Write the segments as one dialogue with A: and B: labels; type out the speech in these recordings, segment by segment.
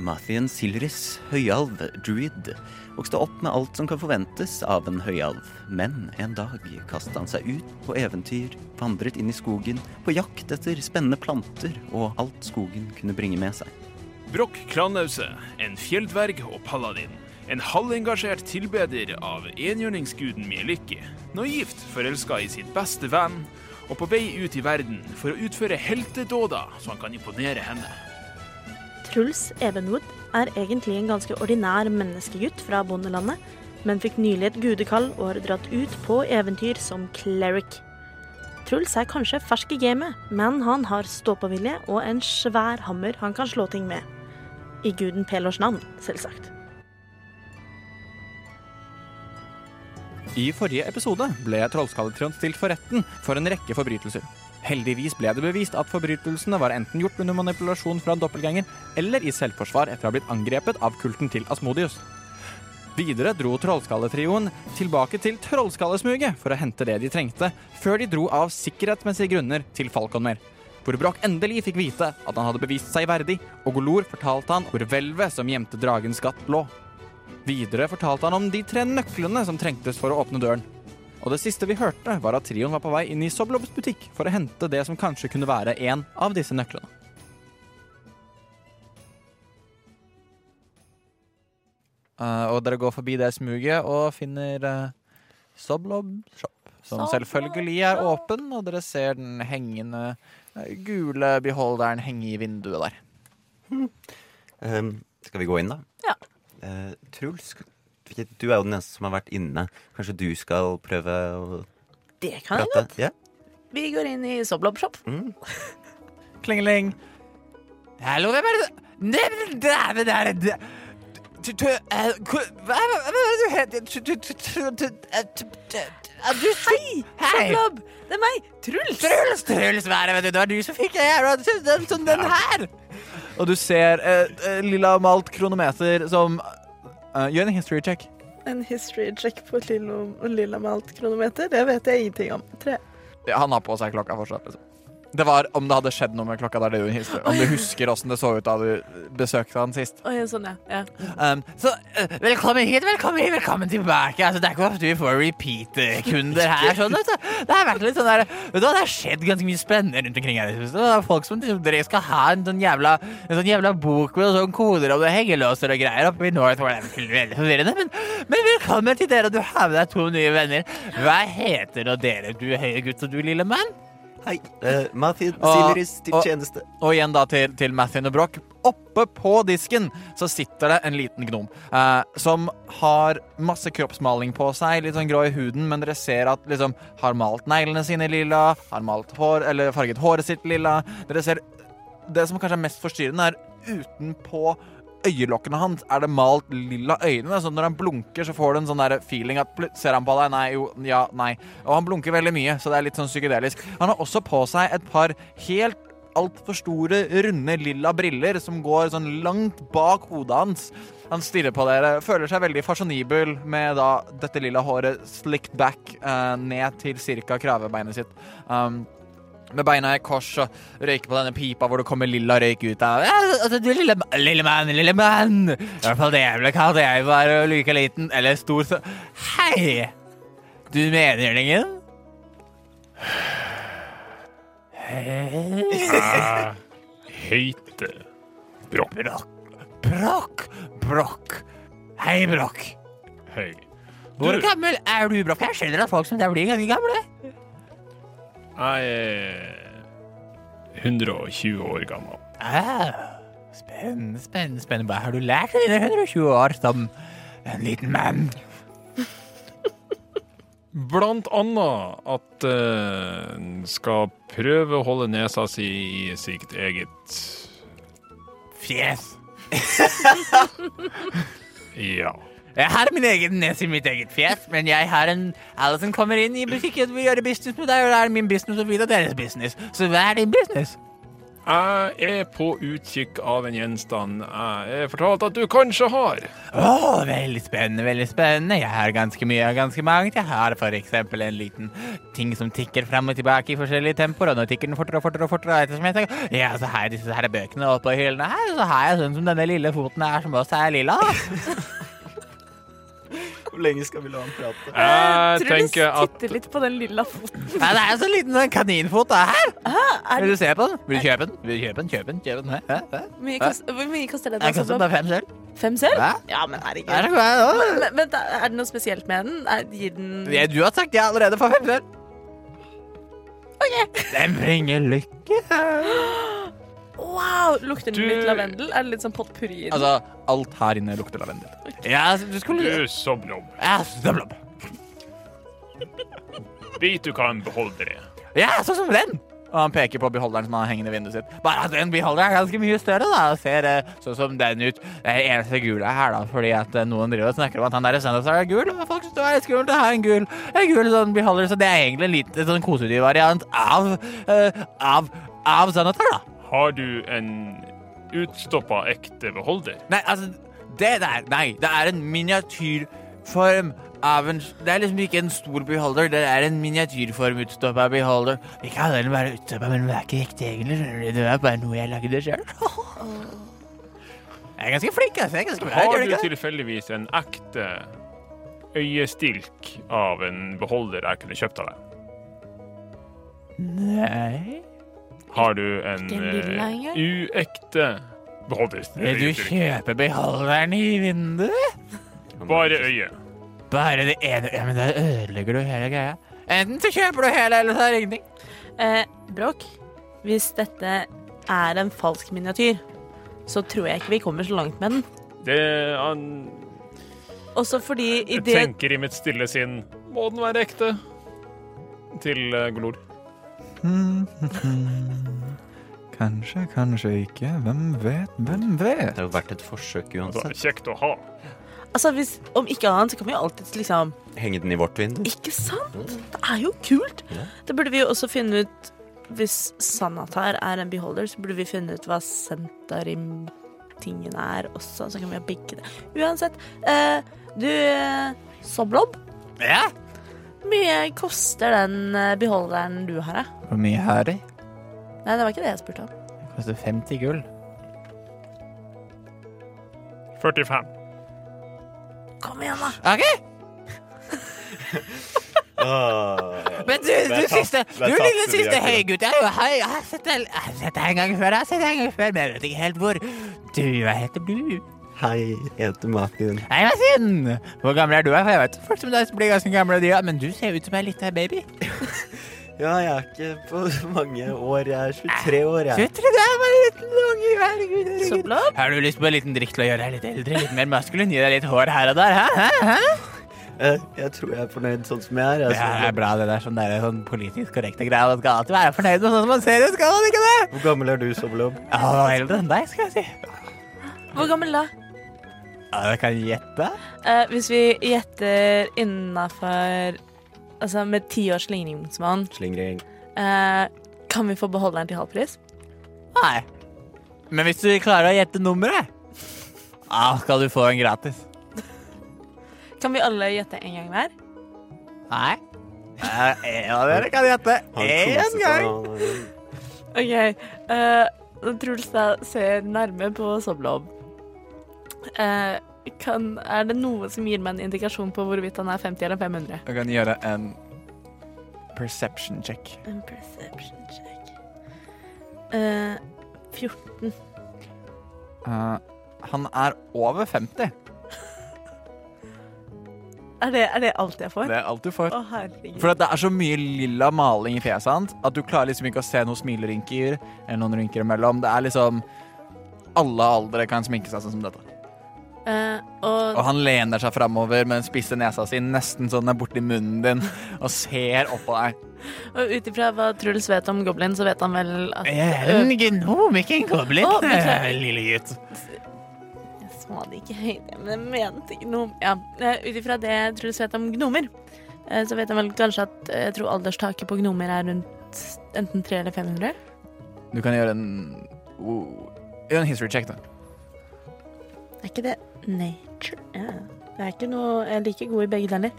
A: Mathien Silris, høyalv, druid, vokste opp med alt som kan forventes av en høyalv. Men en dag kastet han seg ut på eventyr, vandret inn i skogen, på jakt etter spennende planter og alt skogen kunne bringe med seg.
B: Brokk Klanause, en fjelldverg og paladin. En halvengasjert tilbeder av enhjørningsguden Mielikki. Naivt forelska i sitt beste venn, og på vei ut i verden for å utføre heltedåder så han kan imponere henne.
C: Truls Evenwood er egentlig en ganske ordinær menneskegutt fra bondelandet, men fikk nylig et gudekall og har dratt ut på eventyr som cleric. Truls er kanskje fersk i gamet, men han har ståpåvilje og en svær hammer han kan slå ting med. I guden Pelors navn, selvsagt.
D: I forrige episode ble Trollskalletrion stilt for retten for en rekke forbrytelser. Heldigvis ble det bevist at forbrytelsene var enten gjort under manipulasjon fra en doppelganger, eller i selvforsvar etter å ha blitt angrepet av kulten til Asmodius. Videre dro Trollskalletrioen tilbake til Trollskallesmuget for å hente det de trengte, før de dro av sikkerhetsmessige grunner til Falkonmer. Hvor Broch endelig fikk vite at han hadde bevist seg verdig, og Golor fortalte han hvor hvelvet som gjemte dragens skatt lå. Videre fortalte han om de tre nøklene som trengtes for å åpne døren. Og det siste vi hørte, var at trioen var på vei inn i Soblobs butikk for å hente det som kanskje kunne være en av disse nøklene. Eh, og dere går forbi det smuget og finner eh, Soblob Shop, som
C: Soblob
D: selvfølgelig er åpen, og dere ser den hengende eh, gule beholderen henge i vinduet der.
A: Ehm, skal vi gå inn, da?
C: Ja.
A: Eh, Truls, du er jo den eneste som har vært inne. Kanskje du skal prøve å
C: Det kan jeg
A: prate? Ah, Ja?
C: Vi går inn i Soblobshop.
A: Mm.
D: Klingeling. Hallo, hvem er det Nei, men det er det er det Du- du- eh, hvor- Hva hva- hva er det du heter? Du- du- du- du- du- eh, du- du- eh, du- Hei!
C: Soblob! Det er meg, Truls!
D: Truls, Truls, hva er det, vet du? Det var du som fikk det her, og så- den, sånn den her! Og du ser eh, eh, lilla malt kronometer som eh, Gjør en history check.
E: En history check på lilla, lilla malt kronometer, det vet jeg ingenting om. Tre.
D: Ja, han har på seg klokka fortsatt, liksom. Det var om det hadde skjedd noe med klokka der, det er jo en history. Om du husker åssen det så ut da du besøkte han sist.
C: Å, ja, sånn, ja. ja.
D: Um, så eh, velkommen hit, velkommen hit, velkommen tilbake. Altså, det er ikke ofte vi får repeat-kunder her. Sånn, vet du. Det har vært litt sånn der, vet du, hva, det har skjedd ganske mye spennende rundt omkring her. Så det er folk som liksom, dere skal ha en sånn jævla, en sånn jævla bok med sånn koder og hengelåser og greier oppe i Northwood. Det er vel veldig forvirrende, men, men velkommen til dere, og du har med deg to nye venner. Hva heter nå dere, du høye gutt og du lille mann?
A: Hei. Uh, Mathien
D: Og-
A: Silris, til
D: og-
A: tjeneste.
D: Og igjen da til, til Matthew og Broch. Oppe på disken så sitter det en liten gnom eh, som har masse kroppsmaling på seg, litt sånn grå i huden, men dere ser at liksom har malt neglene sine lilla, har malt hår, eller farget håret sitt lilla. Dere ser Det som kanskje er mest forstyrrende, er utenpå øyelokkene hans er det malt lilla øyne, så når han blunker, så får du en sånn der feeling at plut- Ser han på deg? Nei, jo, ja, nei. Og han blunker veldig mye, så det er litt sånn psykedelisk. Han har også på seg et par helt altfor store, runde, lilla briller som går sånn langt bak hodet hans. Han stirrer på dere, føler seg veldig fasjonibel med da dette lilla håret slicked back eh, ned til ca. kravebeinet sitt. Um, med beina i kors og røyker på denne pipa hvor det kommer lilla røyk ut av. Ja, altså, du lille, ma- lille mann, lille mann! I hvert fall det jeg ble kalt da jeg var like liten, eller stor så Hei! Du mener ingen? Hei.
B: Heite Brokk.
D: Brokk, Brokk, Brokk. Hei, Brokk.
B: Hei.
D: Hvor
B: Du-
D: gammel er du, Brokk? Jeg skjønner at folk som deg blir ganske gamle.
B: Jeg er 120 år gammel.
D: Ah, spennende, spennende, spennende. Hva har du lært av dine 120 år som en liten mann?
B: Blant annet at eh, en skal prøve å holde nesa si i sitt eget
D: Fjes.
B: Ja.
D: Jeg har min egen nes i mitt eget fjes, men jeg har en Alle som kommer inn i butikken, vil gjøre business med deg, og det er min business og videre deres business. Så hva er din business?
B: Jeg er på utkikk av en gjenstand jeg er fortalt at du kanskje har.
D: Å, veldig spennende, veldig spennende. Jeg har ganske mye og ganske mangt. Jeg har for eksempel en liten ting som tikker frem og tilbake i forskjellige tempoer, og nå tikker den fortere og fortere og fortere. og Ettersom jeg tenker, ja, så har jeg disse her bøkene oppå hyllene her, og så har jeg sånn som denne lille foten her, som også er lilla.
A: Hvor lenge skal vi la han prate?
B: Jeg tenker at
F: titter litt på den lilla foten.
D: Nei, det er jo så liten sånn kaninfot da, her.
F: Er
D: Vil
F: det,
D: du se på den? Vil du kjøpe den? Vil du kjøpe den? Kjøpe den? Kjøpe den? Hæ? Hæ? Hæ?
F: hvor mye kost, hvor mye koster det?
D: Jeg
F: da,
D: koster
F: sånn,
D: bare fem selv.
F: Fem selv?
D: Hæ?
G: Ja, men herregud.
D: Er det godt?
F: Men, men da- er det noe spesielt med den? Er, gir den
D: Ja, Du har sagt ja allerede for fem selv. Ok. Den bringer lykke.
F: Wow! Lukter den
B: Du-
F: litt lavendel? Er det litt sånn potpurri i den?
D: Altså, alt her inne lukter lavendel. Ja, du skulle...
B: du sovner om.
D: Ja, stemmer.
B: Vit du kan beholde det.
D: Ja, sånn som den! Og han peker på beholderen som han hengende i vinduet sitt. Bare at den beholderen er ganske mye større, da. Og ser eh, sånn som den ut. Det er eneste gule her, da, fordi at eh, noen driver og snakker om at han der Sandasar er gul. Og folk synes det er litt skummelt å ha en gul, en gul sånn beholder, så det er egentlig en liten sånn kosedyr variant av, eh, av, av Sandasar, da.
B: Har du en utstoppa ekte beholder?
D: Nei, altså Det der, nei. Det er en miniatyrform av en Det er liksom ikke en stor beholder, det er en miniatyrform utstoppa beholder. Vi kaller den bare utstoppa, men den er ikke ekte egentlig. skjønner du. Det er bare noe jeg lagde sjøl. Jeg er ganske flink, altså. Jeg er ganske bra.
B: Har
D: gjør
B: du
D: jeg ikke det?
B: tilfeldigvis en ekte øyestilk av en beholder jeg kunne kjøpt av deg?
D: Nei
B: Har du en
F: Ikke en lilla
D: øh,
B: eh,
F: engang?
B: uekte beholder?
D: Vil du kjøpe beholderen i vinduet?
B: Bare øyet.
D: Bare det ene Ja, men da ødelegger du hele greia. Enten så kjøper du hele, eller så er det ingenting.
C: Eh, Bråk, hvis dette er en falsk miniatyr, så tror jeg ikke vi kommer så langt med den.
B: Det han
C: Også fordi i
B: jeg
C: det
B: tenker i mitt stille sinn Må den være ekte? Til eh, Glor.
D: Kanskje, kanskje ikke. Hvem vet, hvem vet?
A: Det har jo vært et forsøk
B: Altså,
A: uansett.
B: kjekt å ha.
C: Altså, hvis, om ikke annet, så kan vi jo alltid liksom
A: Henge den i vårt vindu.
C: Ikke sant? Det er jo kult.
A: Ja.
C: Det burde vi jo også finne ut Hvis Sanatar er en beholder, så burde vi finne ut hva Sentarim-tingen er også. Så kan vi ha begge det. Uansett. Eh, du, eh, Soblob,
D: Ja?
C: hvor mye koster den eh, beholderen du har, da?
D: Hvor mye har de?
C: Nei, det var ikke det jeg spurte om.
D: Koster 50 gull.
B: 45.
C: Kom igjen, da.
D: OK!
A: Åh.
D: Men du, du
A: er tatt-
D: siste,
A: det
D: du
A: er tatt
D: lille
A: for
D: siste
A: direkte.
D: høygutt. Jeg, har- jeg har sett deg jeg har sett deg en gang før, jeg har sett deg en gang før, men jeg vet ikke helt hvor. Du, hva heter du?
A: Hei, jeg heter Martin.
D: Nei, hva sier den? Hvor gammel er du? For jeg vet folk som deg blir ganske gamle, de, ja. men du ser ut som en liten baby.
A: Ja, jeg er ikke på mange år. Jeg er 23 år,
D: Du
A: jeg.
D: tror du er bare en liten unge, herregud, herregud.
C: Soblob?
D: Har du lyst på en liten drikk til å gjøre deg litt eldre, litt mer maskulin, gi deg litt hår her og der, hæ? hæ? hæ?
A: Eh, Jeg tror jeg er fornøyd sånn som jeg er.
D: Det
A: altså.
D: er bra, det der, sånn der sånn politisk korrekte greier. Man skal alltid være fornøyd med sånn som man ser ut, skal man ikke det?
A: Hvor gammel er du, Soblob?
D: Ja, han var eldre enn deg, skal jeg si.
C: Hvor gammel da?
D: Ja, jeg kan gjette.
C: Eh, hvis vi gjetter innafor Altså med ti års ligningsmann,
A: Slingring.
C: eh, kan vi få beholderen til halv pris?
D: Nei. Men hvis du klarer å gjette nummeret, ja, skal du få en gratis.
C: Kan vi alle gjette en gang hver?
D: Nei. Ja, en av dere kan gjette. Én gang.
C: OK. eh, Truls da ser nærme på Soblob. Eh, kan, er det noe som gir meg en indikasjon på hvorvidt han er 50 eller 500?
D: Du kan gjøre en perception check.
C: En perception check. Eh, 14.
D: Eh, han er over 50.
C: Er det, er det alt jeg får?
D: er alt du får.
C: Å, herregud.
D: For at det er så mye lilla maling i fjeset hans at du klarer liksom ikke å se noen smilerynker eller noen rynker imellom. Det er liksom Alle aldre kan sminke seg sånn som dette.
C: Eh, og
D: Og han lener seg framover med den spisse nesa si, nesten sånn den er borti munnen din, og ser opp på deg.
C: Og ut ifra hva Truls vet om Goblin, så vet han vel at
D: Jeg er en gnom, ikke en goblin,
C: Å, beklager.
D: lille gutt.
C: Yes. sa det ikke høyt, men jeg mente gnom... Ja, ut ifra det Truls vet om gnomer, eh, så vet han vel kanskje at eh, jeg tror alderstaket på gnomer er rundt enten 300 eller 500.
D: Du kan gjøre en oh, Gjør en history check, da.
H: Er ikke det nature? Ja. Det er ikke noe Jeg er like god i begge deler.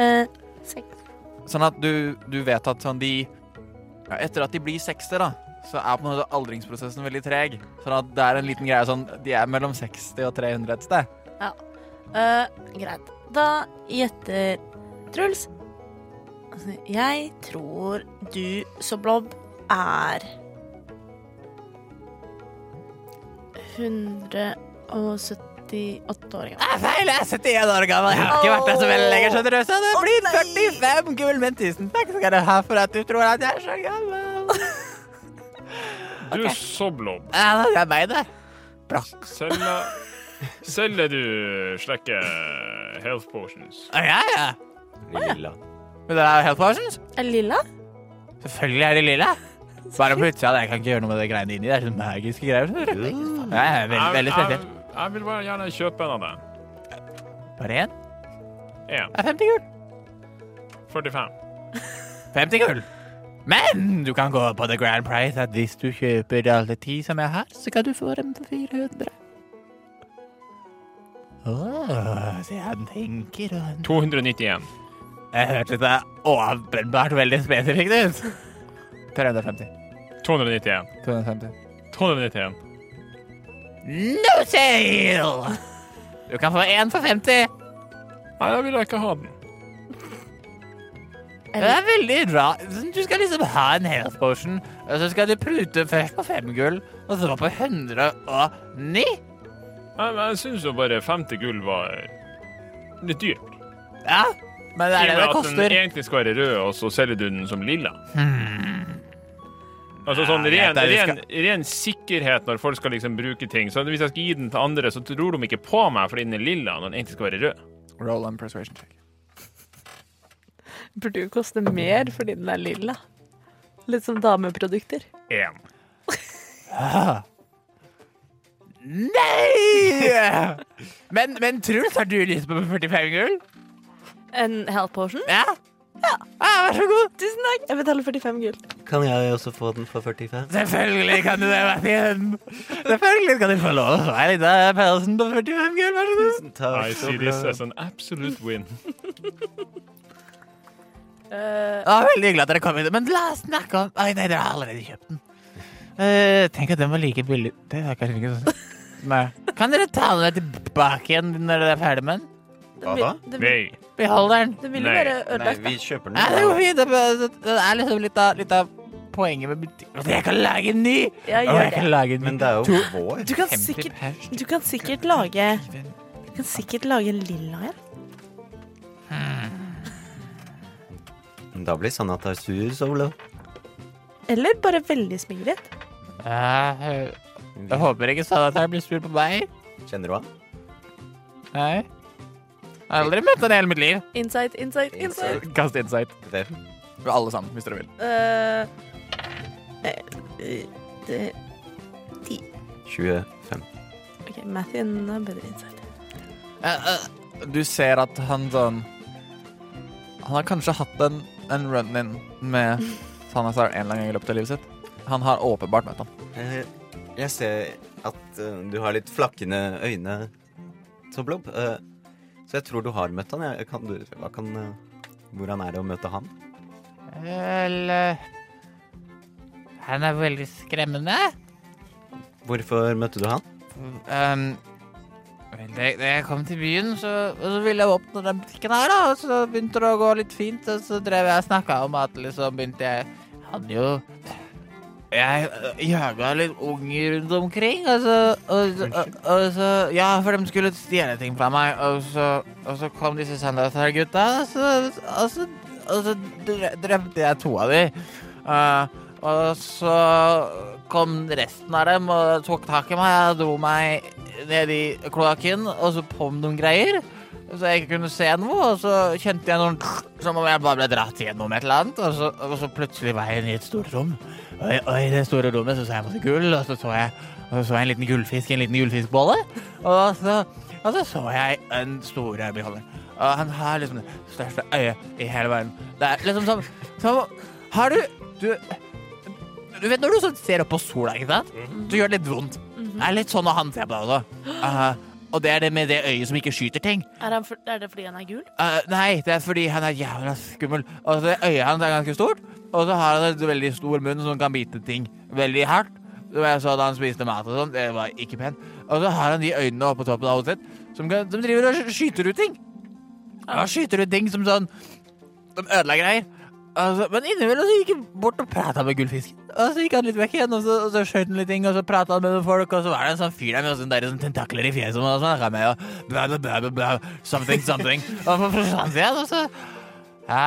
H: Eh, seks.
D: Sånn at du, du vet at sånn de ja, Etter at de blir 60, da, så er på en måte aldringsprosessen veldig treg. Sånn at det er en liten greie sånn De er mellom 60 og 300 et sted.
C: Eh, greit. Da gjetter Truls. Altså, Jeg tror du som blob er 178 år gammel.
D: Feil! Jeg er 71 år gammel. Jeg har ikke vært der så veldig lenger, skjønner du. Så det blir 45 gull, men tusen takk skal du ha for at du tror at jeg er så gammel.
F: Du soblob.
D: Ja, det er meg, det.
F: Selger, selger du slike health potions?
D: Å, Ja, ja.
A: Lilla.
D: Men dere er health potions?
C: Er det lilla?
D: Selvfølgelig er de lilla. Bare på utsida. Jeg kan ikke gjøre noe med de greiene inni. Det er sånne magiske greier. Ja, ja, veldig, veldig
F: jeg,
D: spesielt.
F: jeg, jeg vil bare gjerne kjøpe en av dem.
D: Bare én?
F: Én.
D: Det er 50 gull.
F: 45.
D: 50 gull. Men du kan gå på The Grand Price at hvis du kjøper alle ti som jeg har, så kan du få dem for 400. Åh, se han tenker og han
F: 291.
D: Jeg hørte det åpenbart veldig spesifikt ut. 350.
F: 291.
D: 250.
F: 291.
D: No sale! Du kan få én for 50.
F: Nei, da vil jeg ikke ha den.
D: Det
H: Eh,
D: er veldig bra. Du skal liksom ha en health potion, og så skal du prute først på fem gull, og så på 109.
F: Jeg, jeg syns jo bare 50 gull var litt dyrt.
D: Ja, men det er det
F: I og med
D: det
F: at den
D: koster.
F: egentlig skal være rød, og så selger du den som lilla. Altså sånn
D: Ja, Hmm. jeg
F: ren,
D: vet det, vi
F: ren, ren sikkerhet når folk skal liksom bruke ting. Så hvis jeg skal gi den til andre, så tror de ikke på meg fordi den er lilla når den egentlig skal være rød.
D: Roll and persuasion check.
C: Burde jo koste mer fordi den er lilla.
H: Litt som dameprodukter.
F: Én.
D: Nei! Men, men Truls, har du lyst på 45 gull?
C: En health potion?
D: Ja? Ah, vær så god.
H: Tusen takk! Jeg betaler 45 gull.
A: Kan jeg også få den for 45?
D: Selvfølgelig kan du det, Martin. Selvfølgelig skal du få lov å få en liten pelsen på 45 gull, vær så god.
A: Tusen takk.
F: I
A: så
F: see
A: bra.
F: this as an sånn absolute win.
C: Eh,
D: Ah, veldig hyggelig at dere kom hit, men la oss snakke om Oi, nei, dere har allerede kjøpt den. Eh, tenk at den var like billig Det er kanskje ikke sånn. Nei. Kan dere ta den med tilbake igjen når dere er ferdig med den?
A: Hva da?
C: Det, vil-
F: Nei.
D: Behold den.
C: det ville
F: Nei.
C: være
A: Nei,
C: ødelagt.
A: vi kjøper den.
D: Nei, det går fint. Det er bare- Det er liksom litt av, litt av poenget med butikk. Altså, Jeg kan lage en ny!
C: Ja,
D: Å,
C: gjør
D: jeg
C: det.
D: kan lage en ny.
A: Men det er jo vår.
H: Du kan
D: 50
H: sikkert,
D: pers.
H: du kan sikkert lage Du kan sikkert lage en lilla en.
A: Da blir Sanata sur, Solo.
H: Eller bare veldig smigret.
D: Jeg, Eh, jeg håper ikke Sanatar blir sur på meg.
A: Kjenner du han?
D: Nei. Jeg har aldri møtt han i hele mitt liv.
C: Insight, insight, insight.
D: Kast insight.
A: Hvem?
D: Alle sammen, hvis dere vil.
C: Eh,
A: 25.
H: Ok, Mathien har bedre insight.
D: Eh, Du ser at han sånn Han har kanskje hatt en, en run-in med Sanatar en eller annen gang i løpet av livet sitt. Han har åpenbart møtt han.
A: Eh, Jeg ser at eh, du har litt flakkende øyne, Toblob. Eh, Så jeg tror du har møtt han. Jeg kan, du, hva kan, eh, hvordan er det å møte han?
D: Vel eh, Han er veldig skremmende.
A: Hvorfor møtte du han?
D: Um, vel, da jeg- da jeg kom til byen, så, og så ville jeg åpne den butikken her, da. Og så begynte det å gå litt fint, og så drev jeg og snakka om at liksom begynte jeg Hadde jo Jeg øh, jaga litt unger rundt omkring, og så, og, så- og, og så Ja, for de skulle stjele ting fra meg, og så, og så kom disse Sandathar-gutta, og så, og så, og så dre- drepte jeg to av de. Eh, og så kom resten av dem og tok tak i meg og dro meg ned i kloakken, og så kom noen greier. Så jeg ikke kunne se noe, og så kjente jeg noen Som om jeg bare ble dratt gjennom et eller annet, og så, og så plutselig var jeg inne i et stort rom. Og, i- og i det store rommet så så jeg masse gull, og så så jeg, og så så jeg en liten gullfisk i en liten gullfiskbolle. Og så, og så så jeg en stor beholder. Og han har liksom det største øyet i hele verden. Det er liksom som, som Har du Du du vet når du sånn ser opp på sola, ikke sant? Så gjør det litt vondt. Det er litt sånn når han ser på deg også. Eh, og det er det med det øyet som ikke skyter ting.
C: Er, han for, er det fordi han er gul?
D: Eh, nei, det er fordi han er jævla skummel. Og det øyet hans er ganske stort, og så har han et veldig stor munn som kan bite ting veldig hardt. Som jeg så da han spiste mat og sånn. Det var ikke pent. Og så har han de øynene oppe på toppen av hodet sitt som, kan, som driver og sk- skyter ut ting. Ja, skyter ut ting som sånn De ødelegger greier. Altså, men innimellom så gikk han bort og prata med gullfisken. Og så gikk han litt vekk igjen, og så, og så skjøt han litt ting, og så prata han med noen folk, og så var det en sånn fyr der med sånn der, sånn tentakler i fjeset som han snakka med, og bla, bla, bla, bla, bla, something, something. Og så forsvant han, og så ja.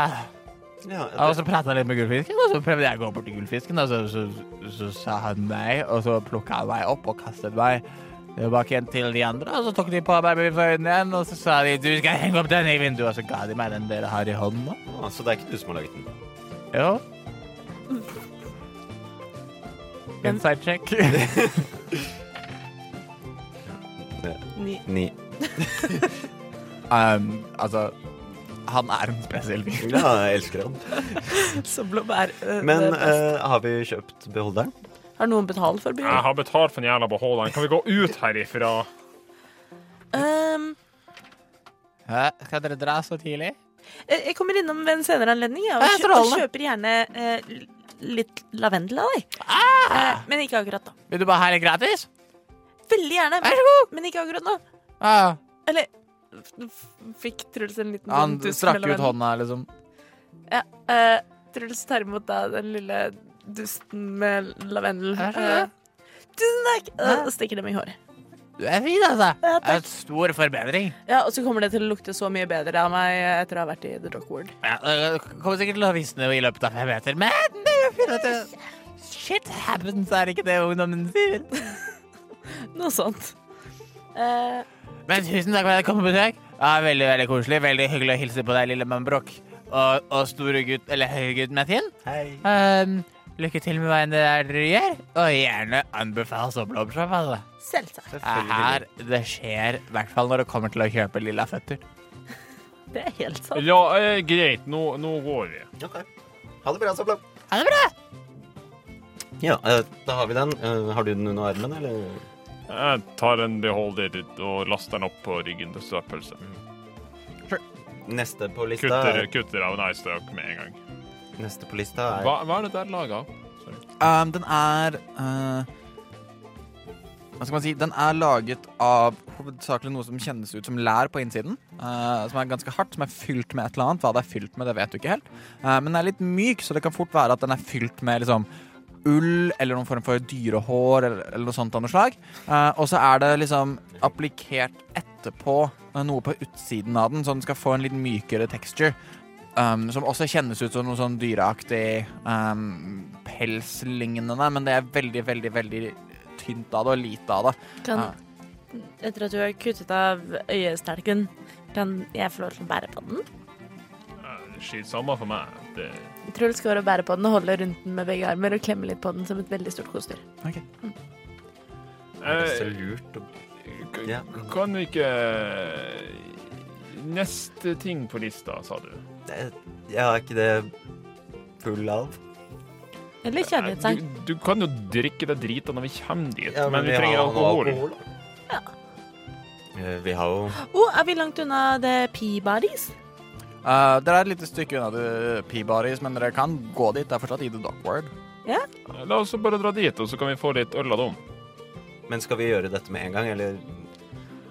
I: Ja,
D: Og så prata han litt med gullfisken, og så prøvde jeg å gå bort til gullfisken, og så, så, så, sa han nei, og så plukka han meg opp og kastet meg tilbake igjen til de andre, og så tok de på meg med øynene igjen, og så sa de du skal henge opp den i vinduet, og så ga de meg den dere har i hånda.
A: Ah, så det er ikke du som har laget den?
D: Ja. Inside check.
J: Ni.
A: Ni.
D: um, altså Han er en spesiell fyr.
A: Ja, jeg elsker den.
J: Som blåbær. eh,
A: Men
J: det er best.
A: eh, har vi kjøpt beholderen?
J: Har noen betalt for bilen?
F: Jeg har betalt for den jævla beholderen. Kan vi gå ut herifra?
C: Um,
D: Hæ? Skal dere dra så tidlig?
C: eh, jeg kommer innom ved en senere anledning jeg, og,
D: Ja,
C: kjø og
D: strålende.
C: kjøper gjerne eh, l- litt lavendel av deg. Eh, men ikke akkurat nå.
D: Vil du bare ha litt gratis?
C: Veldig gjerne,
D: Vær
C: men, men ikke akkurat nå.
D: Ah,
C: Eller f- fikk Truls en liten
D: han
C: dust
D: strakk
C: mellom
D: ut
C: hendene.
D: hånda, liksom.
C: Eh, Truls tar imot da den lille dusten med lavendel.
D: Her,
C: Eh, Tusen takk!
D: Hæ?
C: Og stikker dem i håret.
D: Du er fin, altså.
C: Ja, takk.
D: Det er en stor forbedring.
C: Ja, Og så kommer det til å lukte så mye bedre av meg etter å ha vært i The Rock Ward.
D: Ja, det kommer sikkert til å visne i løpet av fem meter, men det er jo fint at det Shit happens, er ikke det ungdommen sier?
C: Noe sånt. Eh,
D: Men tusen takk for at jeg kom på besøk. Ja, veldig veldig koselig. Veldig hyggelig å hilse på deg, lille mann Brokk. Og, og store gutt, eller høye gutt Mathien.
A: Hei.
D: Um, lykke til med hva enn det er dere gjør. Og gjerne anbefal soppblomster. Altså.
C: selvsagt.
D: Det er Her det skjer, i hvert fall når det kommer til å kjøpe lilla føtter.
C: Det er helt sant.
F: Ja, eh, greit. Nå, nå går vi.
A: Ok. Ha det bra, Sabla.
D: Ha det bra!
A: Ja, eh, da har vi den. Eh, har du den under armen, eller?
F: Jeg tar en beholder og laster den opp på ryggen til støpelse.
A: Neste på lista
F: Kutter, kutter av en ice dog med en gang.
A: Neste på lista er
F: Hva, hva er det der laget av?
D: Um, den er uh, Hva skal man si? Den er laget av hovedsakelig noe som kjennes ut som lær på innsiden. Uh, som er ganske hardt, som er fylt med et eller annet. Hva det er fylt med, det vet du ikke helt. Uh, men den er litt myk, så det kan fort være at den er fylt med liksom ull eller noen form for dyrehår eller, eller noe sånt av noe slag. Eh, og så er det liksom applikert etterpå eh, noe på utsiden av den, så den skal få en litt mykere texture. Um, som også kjennes ut som noe sånn dyreaktig um, pelslignende, men det er veldig, veldig, veldig tynt av det og lite av det.
C: Kan, etter at du har kuttet av øyestelken, kan jeg få lov til å bære på den?
F: Eh, Skit samme for meg. Det,
C: Truls går og bærer på den og holder rundt den med begge armer og klemmer litt på den som et veldig stort kosedyr.
A: Er det så
F: Eh,
A: lurt å
F: k-
A: Ja.
F: Kan vi ikke eh, Neste ting på lista, sa du.
A: Eh, Ja, er ikke det full av?
C: Eller
F: Eh,
C: kjærlighetssang.
F: Du, du kan jo drikke deg drita når vi kommer dit,
A: Ja,
F: men vi,
A: har
F: trenger
A: noe
F: alkohol.
A: da. Eh, Vi har jo
C: Å, er vi langt unna The Peabodies?
D: Uh, dere er et lite stykke unna det, Peabodies, men dere kan gå dit. Det er fortsatt i The Dockward.
F: La oss bare dra dit, og så kan vi få litt øl av dem.
A: Men skal vi gjøre dette med en gang, eller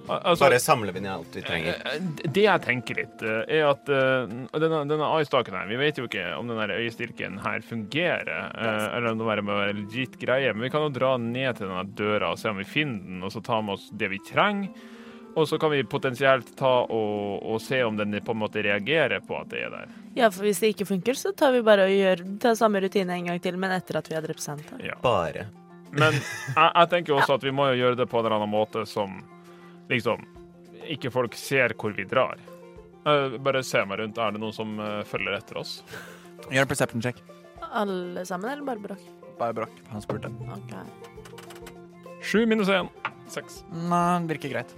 F: Al- Altså,
A: bare samler vi ned alt vi trenger?
F: eh, det jeg tenker litt, eh, er at eh, denne, denne øyestaken her Vi vet jo ikke om den her øyestilken her fungerer, eh, eller om det bare må være legit greie, men vi kan jo dra ned til denne døra og se om vi finner den, og så ta med oss det vi trenger. Og så kan vi potensielt ta og, og se om den på en måte reagerer på at det er der.
C: Ja, for hvis det ikke funker, så tar vi bare og gjør tar samme rutine en gang til, men etter at vi har drept Santa.
F: Ja.
A: Bare.
F: Men jeg, jeg tenker jo også at vi må jo gjøre det på en eller annen måte som liksom ikke folk ser hvor vi drar. Eh, Bare se meg rundt. Er det noen som eh, følger etter oss?
D: Gjør en perception check.
C: Alle sammen, eller bare Brokk?
D: Bare brakk. Han spurte.
C: Ok.
F: Sju minus én. Seks.
D: Nei, det virker greit.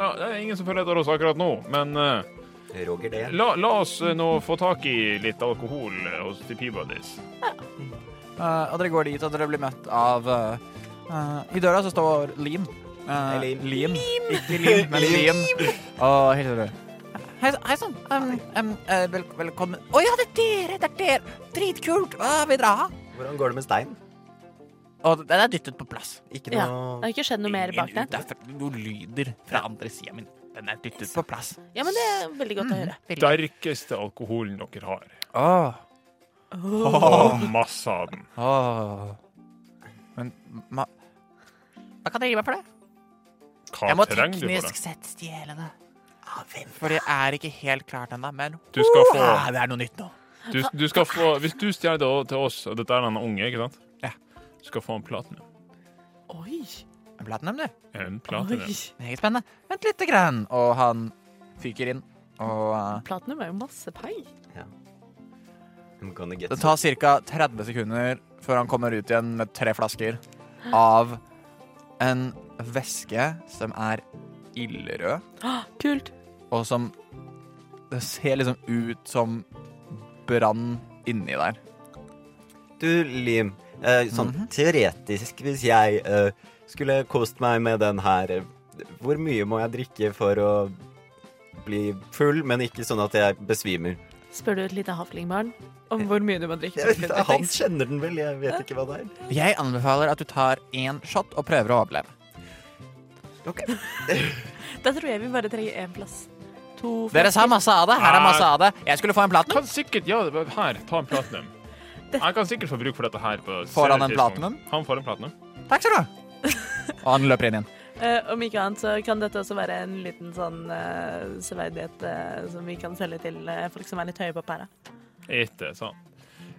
F: Ja, det er ingen som følger etter oss akkurat nå, men eh,
A: Roger det.
F: la, la oss eh, nå få tak i litt alkohol eh, hos de Peabodies.
D: Eh, og dere går dit, og dere blir møtt av eh, eh, I døra så står Lim. Eh,
A: Hei, Lim.
D: Ikke Lim, men Lim. Og hilser du. Hei, hei sann. Um, um, eh, vel, velkommen. Å ja, det er dere! Det er dere! Dritkult! Hva vil dere ha?
A: Hvordan går det med stein?
D: Og den er dyttet på plass.
A: Ikke
C: Ja.
A: noe
C: Det har ikke skjedd noe mer bak
D: Ingen ut
C: den.
D: derfra. Noen lyder fra andre sida min. Den er dyttet på plass.
C: Ja, men det er veldig godt å
A: Mm.
C: høre.
F: Sterkeste alkoholen dere har.
D: Åh,
F: Og masse av den.
D: åh. Men ma Hva kan dere gi meg for det?
F: Hva
D: Jeg må
F: trenger du for
D: teknisk
F: det?
D: sett stjele det. Ah, For det er ikke helt klart ennå, men
F: Du skal få,
D: ah, det er noe nytt nå.
F: du, du skal få Hvis du stjeler det til oss, og dette er den unge, ikke sant?
D: Ja.
F: Du skal få en platinum.
C: Oi,
D: Platinum, du.
F: En
C: oi.
F: platinum.
D: Meget spennende. Vent lite grann. Og han fyker inn. Og eh,
C: Platinum er jo masse pei.
A: I'm gonna get
D: det tar ca. 30 sekunder før han kommer ut igjen med tre flasker av en væske som er ildrød.
C: Kult.
D: og som Det ser liksom ut som brann inni der.
A: Du, Lim, eh, sånn
F: Mhm.
A: teoretisk, hvis jeg eh, skulle kost meg med den her, eh, hvor mye må jeg drikke for å bli full, men ikke sånn at jeg besvimer?
C: Spør du et lite haflingbarn om hvor mye du må drikke?
A: Eh, Jeg
C: for
A: vet
C: å bli
A: ikke, han
C: dritings?
A: kjenner den vel, jeg vet ikke hva det er.
D: Jeg anbefaler at du tar én shot og prøver å overleve.
C: Da tror jeg vi bare trenger én plass. To
D: Dere sa masse av det. Her er masse av det. Jeg skulle få en platinum.
F: Kan sikkert Ja, det var- her, ta en platinum. Jeg kan sikkert få bruk for dette her. På
D: Får han en
F: senere tidspunkt.
D: platinum?
F: Han får en platinum.
D: Takk skal du ha. Og han løper inn igjen.
C: Eh, om ikke annet så kan dette også være en liten sånn eh, severdighet eh, som vi kan selge til eh, folk som er litt høye på pæra.
F: Ikke sant.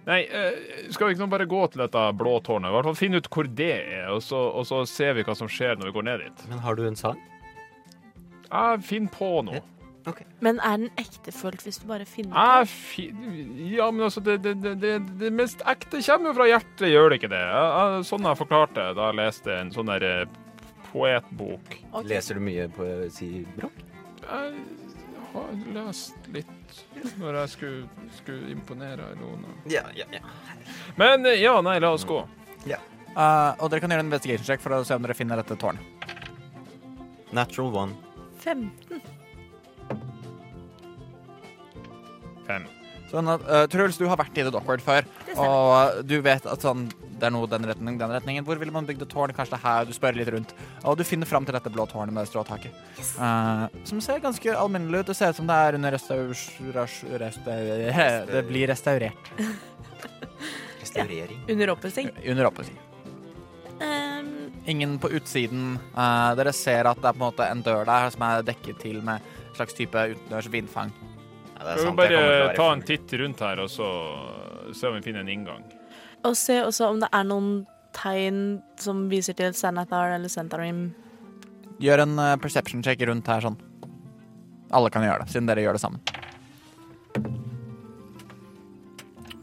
F: Nei, eh, skal vi ikke nå bare gå til dette blå tårnet? I hvert fall finne ut hvor det er, og så, og så ser vi hva som skjer når vi går ned dit.
A: Men har du en sang?
F: Jeg finner på noe.
C: Men er den ektefølt hvis du bare finner
F: Jeg fin... Ja, men altså, det, det, det, det, det mest ekte kommer jo fra hjertet, gjør det ikke det? Jeg, jeg, sånn jeg forklarte det da jeg leste en sånn der eh, poetbok.
C: Ok.
A: Leser du mye poesi, Brokk?
F: Jeg har lest litt når jeg skulle, skulle imponere Ilona.
A: Ja, ja, ja.
F: Men eh, ja, nei, la oss gå.
D: Eh, og dere kan gjøre en investigation check for å se om dere finner dette tårnet.
A: Natural One.
C: Fem.
F: Fem.
D: Sånn at, eh, Truls, du har vært i The Dockward før, og eh, du vet at sånn, det er noe den retningen, den retningen. Hvor ville man bygd et tårn? Kanskje det er her? Du spør litt rundt. Og du finner fram til dette blå tårnet med stråtaket. Eh, som ser ganske alminnelig ut. Det ser ut som det er under restaurs... ras- restau- Det blir restaurert.
A: Restaurering.
C: Under oppussing.
D: Under oppussing.
C: Ehm,
D: Ingen på utsiden. Eh, dere ser at det er på en måte en dør der som er dekket til med en slags type utendørs vindfang.
A: Ja, det er
F: Vi må
A: sant, jeg kommer til å
F: bare
A: være
F: ta
A: full.
F: en titt rundt her, og så se om vi finner en inngang.
C: og se også om det er noen tegn som viser til Sanathar eller Santarim.
D: Gjør en eh, perception check rundt her sånn. Alle kan gjøre det, siden dere gjør det sammen.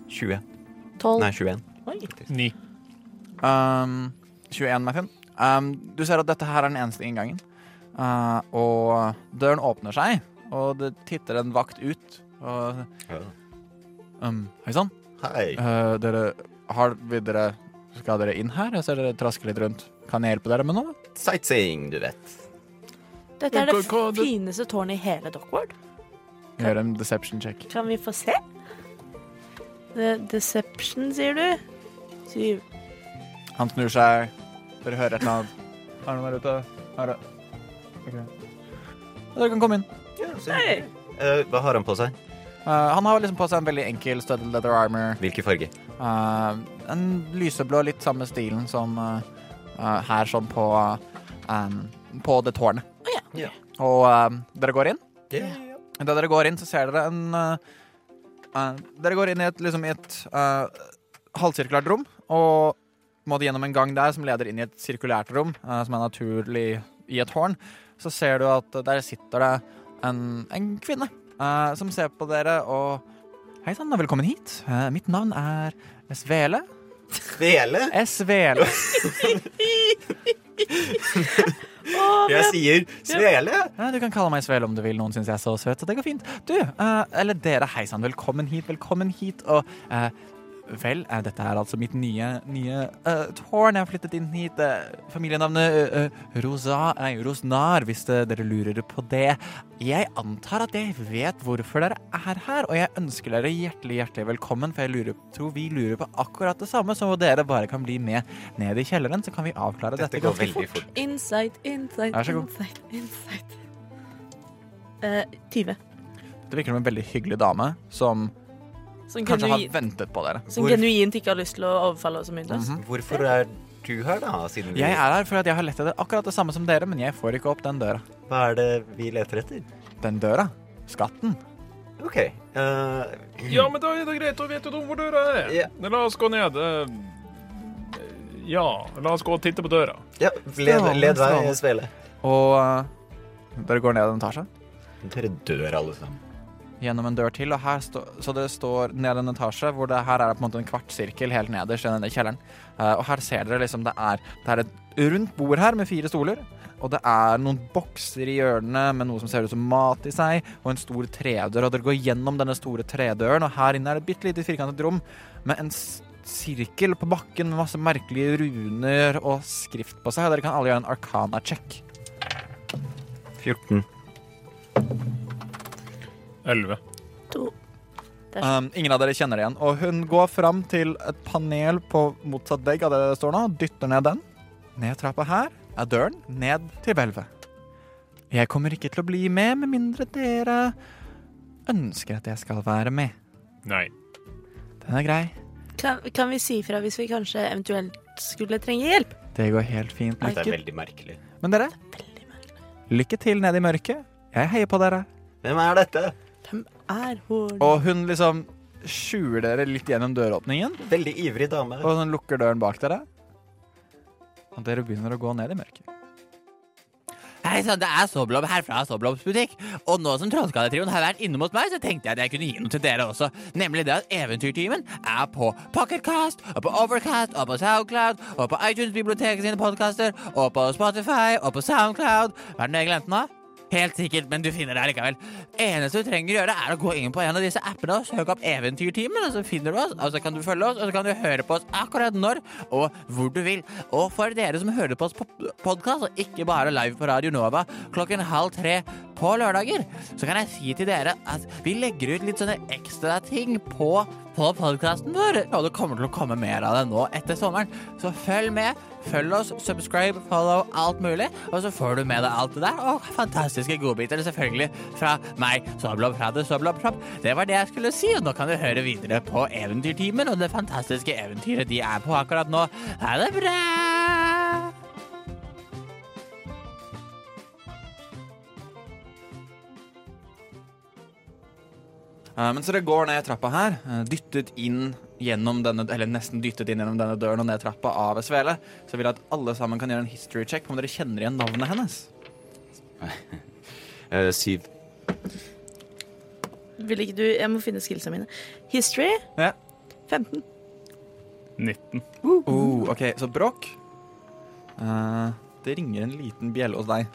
A: 20.
C: Tolv.
A: Nei, 21.
C: Oi.
F: Ni.
D: Um, 21 Muffin. Um, du ser at dette her er den eneste inngangen. Uh, og døren åpner seg, og det titter en vakt ut. Og
A: Ja.
D: um, Hei sann.
A: Hei.
D: Uh, dere har vil dere Skal dere inn her? Jeg ser dere trasker litt rundt. Kan jeg hjelpe dere med noe?
A: Sightseeing, du vet.
C: Dette er
F: Men
C: det
F: hva- hva- det-
C: fineste tårnet i hele Dockward.
D: Gjør en deception check.
C: Kan vi få se? The Deception, sier du? Syv.
D: Han snur seg. Dere hører et eller annet. Er noen der ute? Her er okay. Dere kan komme inn.
A: Ja, så hyggelig. Eh, hva har han på seg?
D: Uh, han har liksom på seg en veldig enkel studded leather armor.
A: Hvilken farge?
D: Eh, en lyseblå, litt samme stilen som eh, eh, her, sånn på eh, På det tårnet.
A: Ja.
D: Og eh, dere går inn.
A: Yeah.
D: Da dere går inn, så ser dere en eh, eh, Dere går inn i et, liksom, i et eh, halvsirkulært rom, og må gjennom en gang der som leder inn i et sirkulært rom, eh, som er naturlig i et horn.
K: så ser du at der sitter det en, en kvinne eh, som ser på dere og Hei sann, og velkommen hit. Eh, mitt navn er Svele.
A: Svele?
K: Svele.
A: Jeg sier svele!
K: Ja, du kan kalle meg Svele om du vil. Noen syns jeg er så søt, så det går fint. Du, eh, eller dere, hei sann, velkommen hit, velkommen hit. Og eh, vel, eh, dette er altså mitt nye, nye eh, tårn. Jeg har flyttet inn hit. eh, familienavnet eh, eh, Rosa, nei, Rosnar, hvis eh, dere lurer på det. Jeg antar at jeg vet hvorfor dere er her, og jeg ønsker dere hjertelig, hjertelig velkommen, for jeg lurer, tror vi lurer på akkurat det samme, så dere bare kan bli med ned i kjelleren, så kan vi avklare dette,
A: Dette går
K: ganske
A: veldig
K: fort.
A: fort.
C: Insight, insight,
K: Vær så god.
C: insight, insight. Eh, 20.
K: Det virker som en veldig hyggelig dame som
C: Som,
K: kanskje har
C: genuint,
K: ventet på dere.
C: som
A: Hvor-
C: Sånn genuint ikke har lyst til å overfalle oss og mynde
K: Mhm.
C: oss.
A: Hvorfor er du her, da? Siden vi,
K: Jeg er her fordi jeg har lett etter akkurat det samme som dere, men jeg får ikke opp den døra.
A: hva er det vi leter etter?
K: Den døra? Skatten?
A: OK. eh,
L: Ja, men da er det greit, da vet du hvor døra er.
A: Ja.
L: Men La oss gå ned. eh, Ja, la oss gå og titte på døra.
A: ja, led,
K: Strålende,
A: led vei,
K: strålende.
A: svele.
K: Og eh, dere går ned en etasje?
A: Dere dør, alle sammen.
K: Gjennom en dør til, og her stå, så det står ned en etasje hvor det her er det på en måte en kvartsirkel helt nederst i denne kjelleren. Eh, og her ser dere liksom det er, det er et rundt bord her med fire stoler, og det er noen bokser i hjørnene med noe som ser ut som mat i seg, og en stor tredør, og dere går gjennom denne store tredøren, og her inne er det et bitte lite firkantet rom med en s- sirkel på bakken med masse merkelige runer og skrift på seg, og dere kan alle gjøre en arcana-check.
A: 14.
L: Elleve.
K: Um, ingen av dere kjenner det igjen. Og hun går fram til et panel på motsatt vegg av det det står nå, dytter ned den. Ned trappa her er døren, ned til hvelvet. Jeg kommer ikke til å bli med med mindre dere ønsker at jeg skal være med.
L: Nei.
K: Den er grei.
C: Kan, kan vi si fra hvis vi kanskje eventuelt skulle trenge hjelp?
K: Det går helt fint.
A: Dette er
K: Lykke.
A: veldig merkelig.
K: Men dere,
C: Veldig merkelig.
K: lykke til nede i mørket. Jeg heier på dere.
A: Hvem er dette?
C: Hvem er hun?
K: Og hun liksom skjuler dere litt gjennom døråpningen,
A: Veldig ivrig dame.
K: og hun lukker døren bak dere. Og dere begynner å gå ned i mørket.
D: Hei sann, det er Soblob her fra Soblobs butikk. Og nå som Trollskalletrioen har vært inne mot meg, så tenkte jeg at jeg kunne gi noe til dere også. Nemlig det at Eventyrtimen er på Pocketcast, og på Overcast, og på Soundcloud, og på iTunes-biblioteket sine podkaster, og på Spotify, og på Soundcloud. Hva er det jeg glemte nå? Helt sikkert, men du finner det her likevel. Eneste du trenger å gjøre, er å gå inn på en av disse appene og søke opp Eventyrtimen, og så finner du oss, og så kan du følge oss, og så kan du høre på oss akkurat når og hvor du vil. Og for dere som hører på oss på podkast, og ikke bare live på Radio Nova klokken halv tre på lørdager, så kan jeg si til dere at vi legger ut litt sånne ekstra ting på på podkasten vår, og det kommer til å komme mer av det nå etter sommeren. Så følg med, følg oss, subscribe, follow, alt mulig, og så får du med deg alt det der, og fantastiske godbiter selvfølgelig fra meg, Soblob fra The Soblob Shop. Det var det jeg skulle si, og nå kan du høre videre på Eventyrtimen og det fantastiske eventyret de er på akkurat nå. Ha det bra!
K: Eh, Men så dere går ned trappa her, eh, dyttet inn gjennom denne, eller nesten dyttet inn gjennom denne døren og ned trappa av Svele, så vil jeg at alle sammen kan gjøre en history check på om dere kjenner igjen navnet hennes.
A: Eh, syv.
B: Vil ikke du Jeg må finne skillsa mine. History
K: Ja.
B: 15.
F: 19.
K: Oh, ok, så Bråk. Eh, det ringer en liten bjelle hos deg.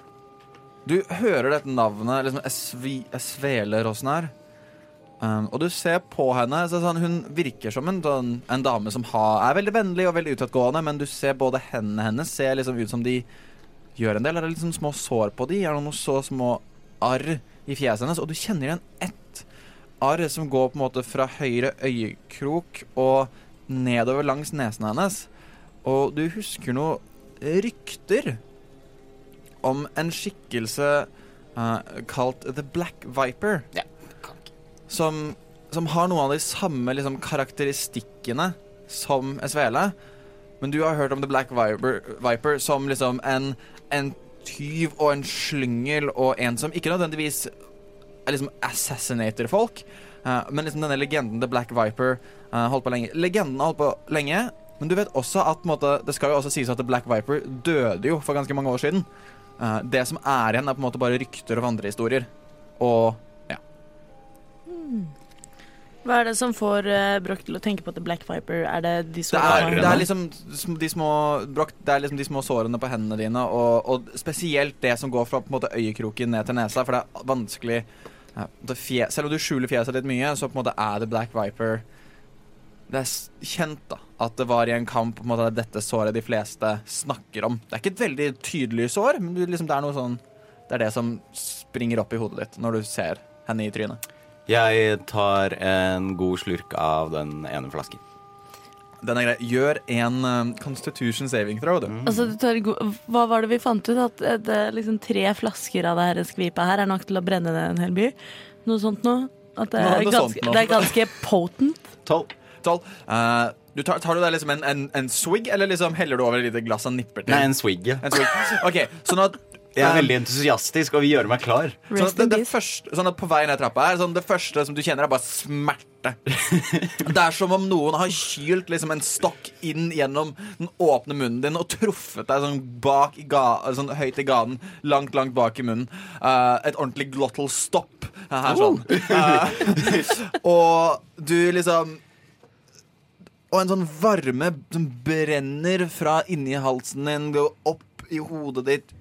K: Du hører dette navnet, liksom Svi- Svele Rosnar. Um, og du ser på henne, så sånn, hun virker som en, sånn, en dame som har, er veldig vennlig og veldig utadgående, men du ser både hendene hennes ser liksom ut som de gjør en del. Er det liksom små sår på de? Er det noen så små arr i fjeset hennes? Og du kjenner igjen ett arr som går på en måte fra høyre øyekrok og nedover langs nesen hennes. Og du husker noe rykter om en skikkelse eh, kalt The Black Viper som, som har noen av de samme liksom, karakteristikkene som Svele. Men du har hørt om The Black Viper, Viper som liksom en, en tyv og en slyngel og en som ikke nødvendigvis er liksom assassinater folk. Eh, men liksom denne legenden The Black Viper eh, holdt på lenge. Legenden har holdt på lenge, men du vet også at på en måte, det skal jo også sies at The Black Viper døde jo for ganske mange år siden. Eh, det som er igjen, er på en måte bare rykter og vandrehistorier. Og
C: Hva er det som får eh, Broch til å tenke på at The Black Viper er det de som
K: det er, det er liksom sm- de små Broch, det er liksom de små sårene på hendene dine, og, og spesielt det som går fra på en måte øyekroken ned til nesa, for det er vanskelig ja, det fje, Selv om du skjuler fjeset ditt mye, så på en måte er det Black Viper Det er s- kjent da at det var i en kamp på en måte, det er dette såret de fleste snakker om. Det er ikke et veldig tydelig sår, men du, liksom, det er noe sånn Det er det som springer opp i hodet ditt når du ser henne i trynet.
A: Jeg tar en god slurk av den ene flasken.
K: Den er grei. Gjør en eh, Constitution saving throw, du.
C: Altså, du tar, go- hva var det vi fant ut? At eh, det, er liksom tre flasker av det her skvipet her er nok til å brenne ned en hel by? Noe sånt noe? At det
K: Noe
C: er,
K: sånt
C: ganske,
K: noe.
C: det er ganske potent.
A: Tolv.
K: Tolv. Eh, du tar, tar du deg liksom en, en, en swig, eller liksom heller du over et lite glass og nipper til?
A: Nei, en swig.
K: En swig. Ok, sånn at,
A: Jeg er
K: eh,
A: veldig entusiastisk og vil gjøre meg klar.
K: sånn,
C: Rest
K: at det,
C: in
K: det
C: peace.
K: første, sånn at på vei ned trappa her, sånn det første som du kjenner, er bare smerte. Det er som om noen har kylt liksom en stokk inn gjennom den åpne munnen din og truffet deg sånn, bak i ga, sånn høyt i ganen, langt, langt bak i munnen. Eh, et ordentlig glottal stopp eh, her sånn. Eh, og du liksom Og en sånn varme som brenner fra inni halsen din, går opp i hodet ditt.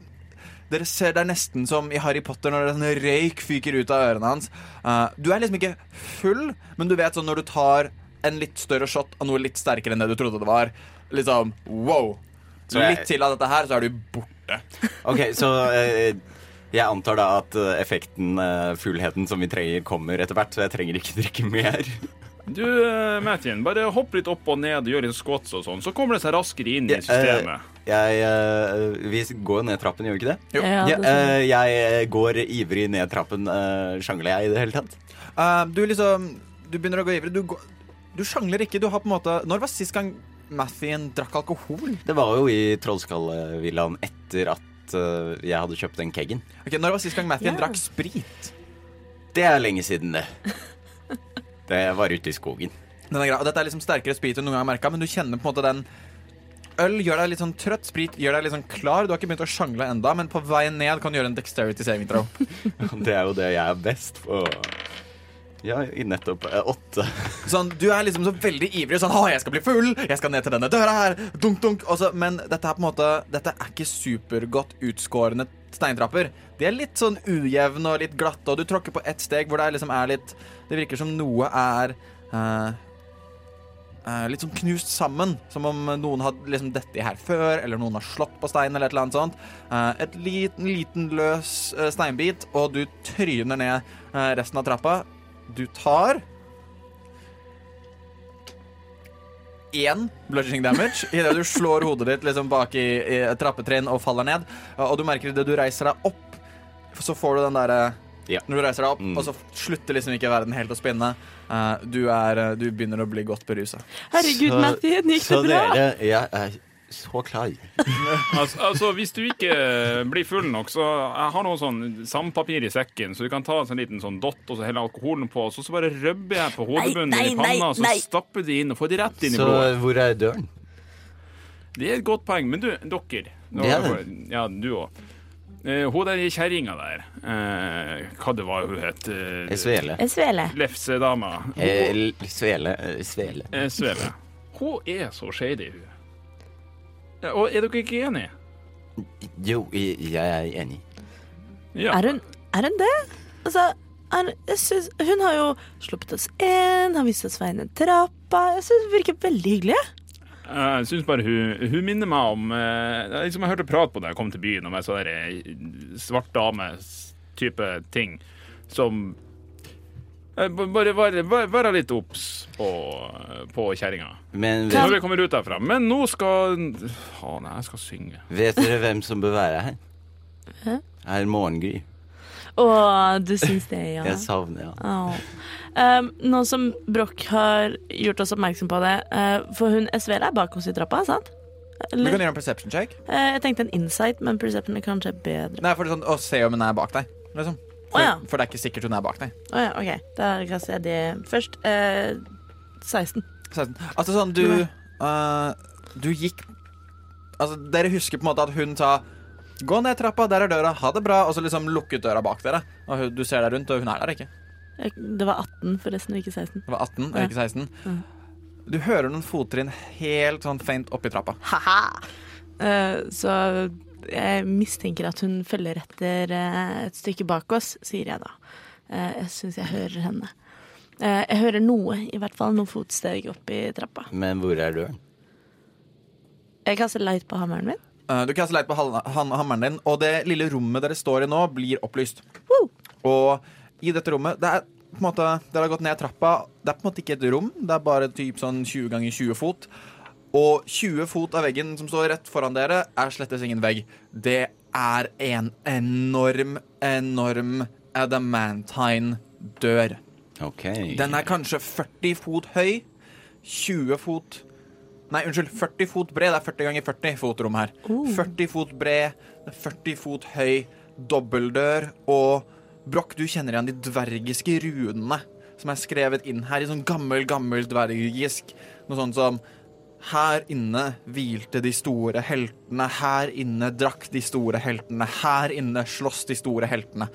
K: Dere ser Det er nesten som i Harry Potter når det er sånn røyk fyker ut av ørene hans. Eh, du er liksom ikke full, men du vet sånn når du tar en litt større shot av noe litt sterkere enn det du trodde det var, liksom wow.
A: Så jeg-
K: litt til av dette her, så er du borte.
A: Ok, så eh, jeg antar da at eh, effekten, eh, fullheten som vi trenger, kommer etter hvert. Så jeg trenger ikke drikke mer.
F: Du, eh, Mathien, bare hopp litt opp og ned og gjør litt squats og sånn, så kommer det seg raskere inn i
A: Eh,
F: systemet.
A: Jeg, eh, vi går ned trappen, gjør vi ikke det?
K: Jo.
A: Ja,
C: Ja, det er sånn.
A: eh, jeg går ivrig ned trappen. eh, sjangler jeg i det hele tatt?
K: Eh, du liksom Du begynner å gå ivrig. Du, går- du sjangler ikke. Du har på en måte Når var sist gang Mathien drakk alkohol?
A: Det var jo i Trollskallevillaen etter at eh, jeg hadde kjøpt den keggen.
K: Ok, Når var sist gang Mathien
C: Ja.
K: drakk sprit?
A: Det er lenge siden, det. Det var ute i skogen.
K: Den er grei. Og dette er liksom sterkere sprit enn noen gang har merket men du kjenner på en måte den Øl gjør deg litt sånn trøtt, sprit gjør deg litt sånn klar. Du har ikke begynt å sjangle enda, men på veien ned kan du gjøre en dexterity saving throw.
A: Det er jo det jeg er best på. Ja, i nettopp eh, åtte.
K: Sånn, du er liksom så veldig ivrig. Sånn, 'Å, jeg skal bli full! Jeg skal ned til denne døra her!' Dunk, dunk. Og så- men dette er på en måte Dette er ikke supergodt utskårne steintrapper. De er litt sånn ujevne og litt glatte, og du tråkker på ett steg hvor det liksom er litt Det virker som noe er eh, eh, litt sånn knust sammen. Som om noen har liksom dette her før, eller noen har slått på steinen, eller et eller annet sånt. Eh, et liten, liten løs eh, steinbit, og du tryner ned eh, resten av trappa. Du tar én bludging damage idet du slår hodet ditt liksom bak i, i et trappetrinn og faller ned. Eh, Og du merker idet du reiser deg opp, så får du den derre
A: Ja.
K: Når du reiser deg opp,
A: Mm.
K: og så slutter liksom ikke verden helt å spinne. Eh, du, er, eh, du begynner å bli godt berusa.
C: Herregud,
A: Så-
C: Mathien, gikk det
A: Så
C: bra?
A: dere, jeg er så klar.
F: Altså, altså, hvis du ikke blir full nok, så jeg har noe sånn sandpapir i sekken, så du kan ta en sånn liten sånn dott og så helle alkoholen på, og så, så bare røbber jeg på hodebunnen
C: Nei,
F: din i
C: nei,
F: panna, og så
C: nei, nei.
F: stapper de inn og får de rett inn i
A: Så
F: blodet.
A: hvor er døren?
F: Det er et godt poeng. Men du, dere. nå-
A: Det er det.
F: Ja, du òg. Hun der kjerringa der, eh, hva det var hun het? Eh,
A: Svele.
C: En svele.
F: Lefsedama.
A: Eh, l- Svele. eh, Svele.
F: Eh, Svele. Hun er så shady, hun. Ja, og er dere ikke enige?
A: Jo, jeg jeg er enig.
F: Ja.
C: Er hun, er hun det? Altså, er, jeg synes, hun har jo sluppet oss inn, har vist oss veien ned trappa. Jeg synes hun virker veldig hyggelig.
F: Jeg syns bare hun, hun minner meg om eh, det er liksom Jeg hørte prat på da jeg kom til byen om en sånn der, eh, svart dame-type ting som Eh, b- Bare være- være være litt obs på, på kjerringa
A: Men
C: Kan-
F: når
A: vet,
F: vi kommer ut derfra. Men nå skal Å nei, jeg skal synge.
A: vet dere hvem som bør være her? Herr Morgengry.
C: Og du syns det, ja.
A: Jeg savner han.
C: Åh. Um, nå som Broch har gjort oss oppmerksom på det, eh, for hun Svele er bak oss i trappa, sant?
K: Du kan
C: Eller,
K: gjøre en perception check.
C: Eh, jeg tenkte en insight, men perception er kanskje bedre.
K: Nei, for det er sånn, Å se om hun er bak deg. Liksom. For,
C: Å, ja.
K: for det er ikke sikkert hun er bak deg.
C: Å ja, OK. Da kaster jeg det først. Eh, 16.
K: 16. Altså sånn, du eh, Du gikk Altså, dere husker på en måte at hun sa Gå ned trappa, der er døra, ha det bra, og så liksom lukket døra bak dere. Og hun- du ser deg rundt, og hun er der ikke.
C: Jeg- Eh, Det var 18, forresten, og ikke 16.
K: Det var 18, og ikke 16.
C: Mm.
K: Du hører noen fottrinn helt sånn feint oppi trappa.
C: Haha! Eh, så jeg mistenker at hun følger etter eh, et stykke bak oss, sier jeg da. Eh, jeg syns jeg hører henne. Eh, jeg hører noe, i hvert fall noen fotsteg opp i trappa.
M: Men hvor er døren?
C: Jeg kaster light på hammeren min.
K: Eh, Du kaster leit på hal- han- hammeren din, og det lille rommet dere står i nå, blir opplyst. Og i dette rommet Det er på en måte Dere har gått ned trappa. Det er på en måte ikke et rom, det er bare typ sånn 20 ganger 20 fot. Og 20 fot av veggen som står rett foran dere, er slettes ingen vegg. Det er en enorm, enorm adamantine-dør.
M: Ok.
K: Den er kanskje 40 fot høy. 20 fot Nei, unnskyld. 40 fot bred. Det er 40 ganger 40 fot rom her. 40 fot bred, det er 40 fot høy, dobbeltdør. Og Broch, du kjenner igjen de dvergiske runene som er skrevet inn her i sånn gammel, gammel dvergisk. Noe sånt som her inne hvilte de store heltene, her inne drakk de store heltene, her inne slåss de store heltene.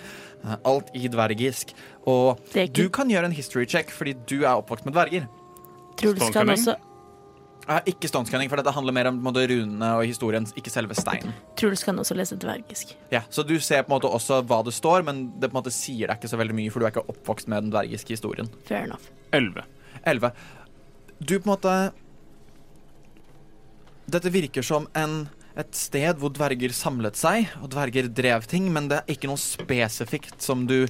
K: Eh, Alt i dvergisk. Og
C: Det er ikke-
K: du kan gjøre en history check fordi du er oppvokst med dverger.
C: Truls kan
L: Stalking?
C: også
K: Eh, Ikke stuntskanning, for dette handler mer om på en måte, runene og historien, ikke selve steinen.
C: Truls kan også lese dvergisk.
K: Ja, så du ser på en måte også hva det står, men det på en måte sier deg ikke så veldig mye, for du er ikke oppvokst med den dvergiske historien.
C: Fair enough.
F: 11.
K: 11. Du på en måte Dette virker som en, et sted hvor dverger samlet seg, og dverger drev ting, men det er ikke noe spesifikt som du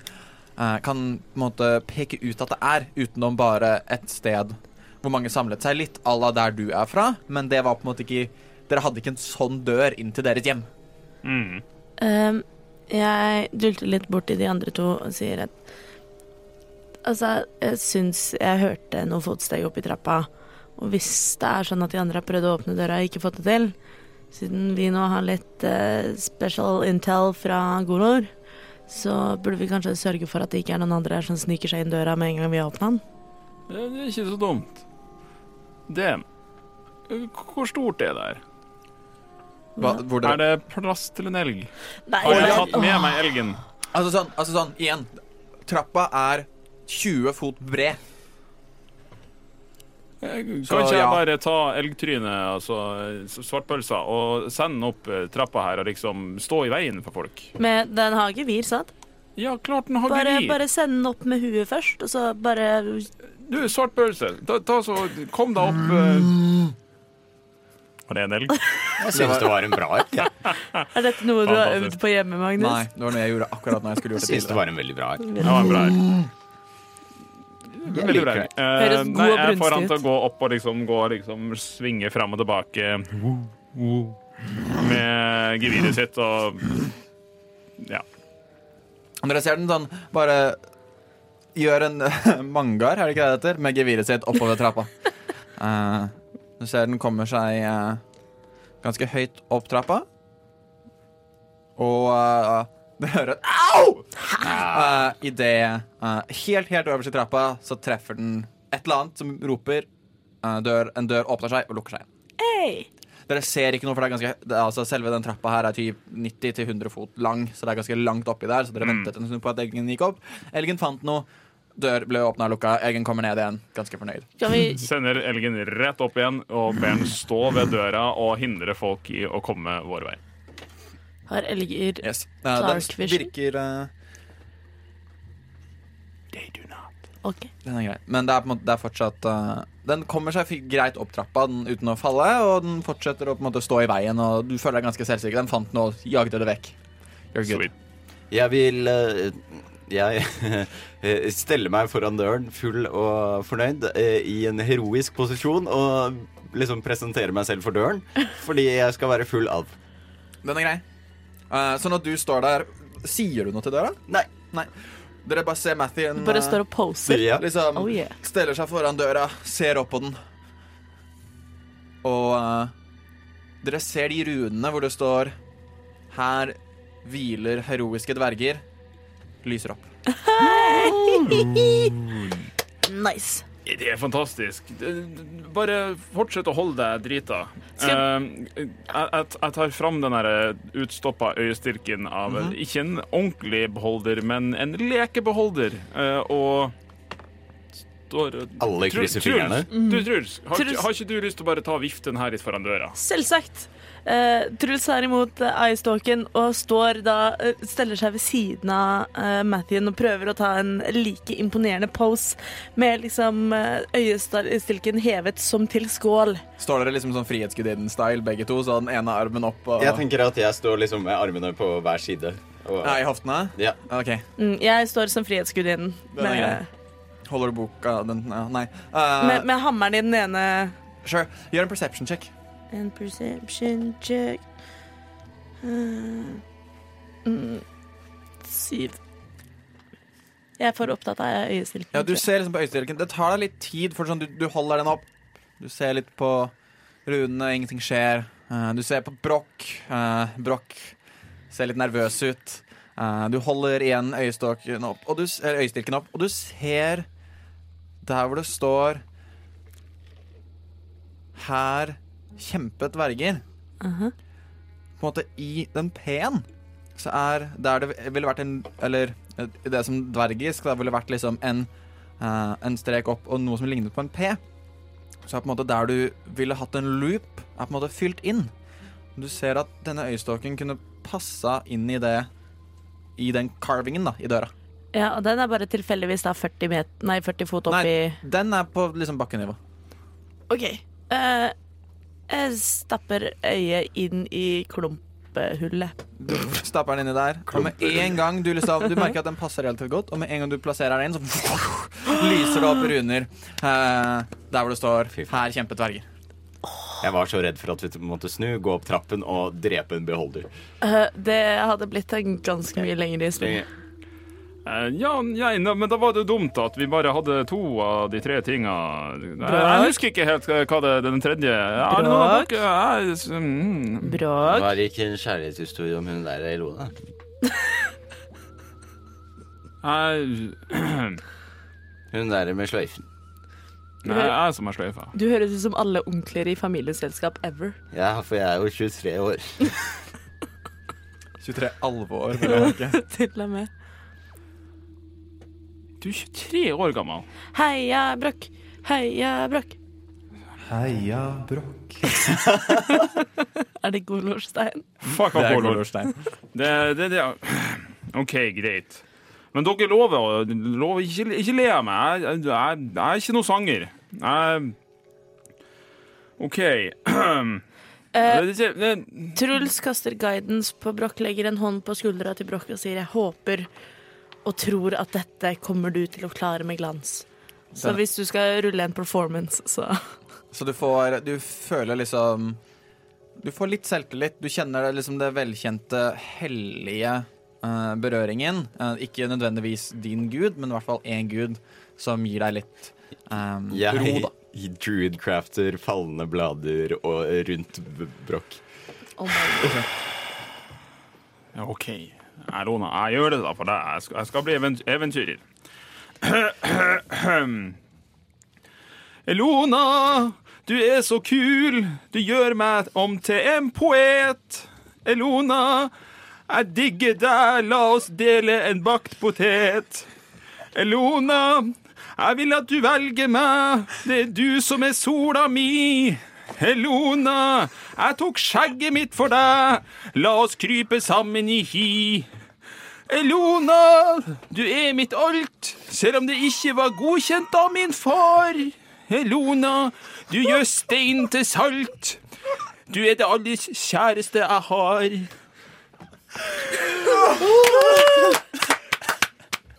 K: eh, kan på en måte peke ut at det er, utenom bare et sted hvor mange samlet seg. Litt à la der du er fra, men det var på en måte ikke Dere hadde ikke en sånn dør inn til deres hjem.
F: Mm.
C: Ehm, jeg dulter litt bort til de andre to og sier at Altså, jeg syns jeg hørte noen fotsteg opp i trappa. Og hvis det er sånn at de andre har prøvd å åpne døra og ikke fått det til, siden vi nå har litt eh, special intel fra Golor, så burde vi kanskje sørge for at det ikke er noen andre her som sniker seg inn døra med en gang vi har åpna den.
F: Det det er ikke så dumt. Det K- Hvor stort er det her?
K: Hva, hvor dere
F: Er det plass til en elg?
E: Nei,
F: Har jeg
E: jeg-
F: tatt med meg elgen?
K: Altså sånn, altså sånn, igjen. Trappa er 20 fot bred.
F: Eh,
K: Så,
F: Kan ikke jeg
K: ja.
F: bare ta elgtrynet, altså s- svartpølsa, og sende den opp eh, trappa her og liksom stå i veien for folk?
C: Men den har gevir, sant?
F: Ja, klart den har
C: Bare,
F: gevir.
C: bare send den opp med huet først, og så bare
F: Du, svartpølse, ta, ta så Kom deg opp. eh. Var det en elg?
A: Jeg syns det var en bra ark. Jeg
C: Er dette noe du har
F: Fantastisk.
C: øvd på hjemme, Magnus?
K: Nei, det var noe jeg gjorde akkurat når jeg skulle gjort det
A: syns det
K: tidligere.
A: var en veldig bra ark.
F: Det var en bra elg. Veldig bra.
A: liker
F: elg.
A: det.
F: Eh,
C: Høres god
F: nei,
C: og
F: jeg
C: brunstig
F: får han til
C: ut.
F: å gå opp og liksom, gå, og liksom svinge fram og tilbake med geviret sitt og Ja.
K: Og Dere ser den sånn bare gjør en mangar, er det ikke det det heter, med geviret sitt oppover trappa. Eh, du ser den kommer seg eh, ganske høyt opp trappa. Og eh, dere hører et au! Uh, I det eh, helt, helt øverst i trappa så treffer den et eller annet som roper. Eh, dør, en dør åpner seg og lukker seg igjen.
C: Hey!
K: Dere ser ikke noe, for det er ganske det er, altså, Selve den trappa her er typ 90-100 fot lang, så det er ganske langt oppi der. Så dere ventet en stund på at elgen gikk opp. Elgen fant noe. Dør ble åpna og lukka. Elgen kommer ned igjen, ganske fornøyd.
C: Kan vi
F: Sender elgen rett opp igjen og ber den stå ved døra og hindre folk i å komme vår vei.
C: Har elger
K: Yes. Eh, den
C: Clark vision.
K: virker eh,
C: OK.
K: Den er grei. Men det er, på en måte, det er fortsatt eh, Den kommer seg fi- greit opp trappa den, uten å falle, og den fortsetter å på en måte stå i veien, og du føler deg ganske selvsikker. Den fant noe og jagde det vekk. You're good.
F: Sweet.
A: Jeg vil eh, Jeg eh, steller meg foran døren full og fornøyd eh, i en heroisk posisjon og liksom presenterer meg selv for døren fordi jeg skal være full av
K: Den er grei. Eh, så når du står der, sier du noe til døra?
A: Nei.
K: Nei. Dere bare ser Mathien
C: Bare
K: eh,
C: står og poser.
A: Ja.
K: Liksom
C: Oh yeah.
K: steller seg foran døra, ser opp på den. Og eh, dere ser de runene hvor det står Her hviler heroiske dverger. Lyser opp.
C: Nice.
F: Det er fantastisk. Det- Bare fortsett å holde deg drita. Eh, jeg, jeg, jeg tar fram den der utstoppa øyestilken av en- ikke en ordentlig beholder, men en lekebeholder, eh, og står og
A: Alle
F: Truls,
A: krysser fingrene.
F: Truls, du, Truls, har,
C: Truls.
F: ikke- har ikke du lyst til å bare ta viften her litt foran døra?
C: Selvsagt. Eh, Truls tar imot eh, eyestalken og står da, eh, steller seg ved siden av eh, Mathien og prøver å ta en like imponerende pose med liksom eh, øyestilken hevet som til skål.
K: Står dere liksom sånn Frihetsgudinnen-style, begge to? Så den ene armen opp og
A: Jeg tenker at jeg står liksom med armene på hver side. Og,
K: Nei, i hoftene?
A: Ja.
K: OK.
C: Mm, jeg står som frihetsgudinnen
K: Den er grei.
C: med,
K: Holder du boka den ja, Nei. Eh,
C: med, med hammeren i den ene.
K: sure. Gjør en perception check.
B: En perception check.
C: Eh, Mm, syv. Jeg er for opptatt av øyestilken.
K: Ja, du
C: tror jeg.
K: ser liksom på øyestilken. Det tar deg litt tid, for sånn, du, du holder den opp. Du ser litt på runene, ingenting skjer. Eh, du ser på Broch. Uh, Broch ser litt nervøs ut. Eh, du holder igjen øyestokken opp, og du, s- eller øyestilken opp, og du ser der hvor det står Her kjempet dverger.
C: Aha.
K: På en måte i den P-en så er der det ville vært en Eller eh, det som dvergisk da ville vært liksom en eh, en strek opp og noe som lignet på en P. Så er på en måte der du ville hatt en loop, er på en måte fylt inn. Du ser at denne øyestokken kunne passa inn i det I den carvingen, da, i døra.
C: Ja, og den er bare tilfeldigvis da 40, met nei, 40 fot opp
K: Nei.
C: i
K: Den er på liksom bakkenivå.
C: OK. Eh, jeg stapper øyet inn i klumpehullet.
K: Du stapper den inni der, og med en gang du, liksom, du merker at den passer relativt godt, og med en gang du plasserer den inn, så lyser det opp runer eh, der hvor det står 'Her kjempet dverger'.
A: Jeg var så redd for at vi måtte snu, gå opp trappen og drepe en beholder.
C: Eh, det hadde blitt en ganske mye lengre historie.
F: Eh, ja, nei, nei, men da var det jo dumt at vi bare hadde to av de tre tinga. Jeg, jeg
C: Brak.
F: husker ikke helt hva det den tredje Er det noen av
C: Brak.
F: dere? Jeg, mm.
C: Bråk.
A: Var det ikke en kjærlighetshistorie om hun der Ilona?
F: Jeg,
A: Hun der med sløyfen.
F: nei, jeg er som er sløyfa.
C: Du høres ut som alle onkler i familieselskap ever.
A: Ja, for jeg er jo 23 år.
K: 23 alvor. vil jeg merke.
C: Til og med.
F: Du er 23 år gammel.
C: Heia Bråk! Heia Bråk!
K: Heia Brokk.
C: Er det Golorstein?
F: Fuck
K: Det
F: off,
K: er
F: Olor.
K: Golorstein.
F: Det, det, det. OK, greit. Men dere lover, lover ikke, ikke le av meg. Jeg, jeg, jeg er ikke noen sanger. Jeg OK.
C: Eh,
F: Det, det, det,
C: Truls kaster guidance på Broch, legger en hånd på skuldra til Broch og sier 'jeg håper og tror at dette kommer du til å klare med glans'. Så
K: Den-
C: hvis du skal rulle en performance, så
K: Så du får Du føler liksom Du får litt selvtillit. Du kjenner det, liksom det velkjente, hellige eh, berøringen. Eh, ikke nødvendigvis din gud, men i hvert fall én gud som gir deg litt eh, ro,
A: Jeg
K: da.
A: druidcrafter fallende blader og rundt b- brokk.
C: Oh
F: Ja, OK. Erona, jeg gjør det da for deg. Jeg skal, jeg skal bli even- eventyrer. Elona, du er så kul. Du gjør meg om til en poet. Elona, jeg digger deg. La oss dele en bakt potet. Elona, jeg vil at du velger meg. Det er du som er sola mi. Elona, jeg tok skjegget mitt for deg. La oss krype sammen i hi. Elona, du er mitt alt, selv om det ikke var godkjent av min far. Elona, du gjør stein til salt. Du er det aller kjæreste jeg har.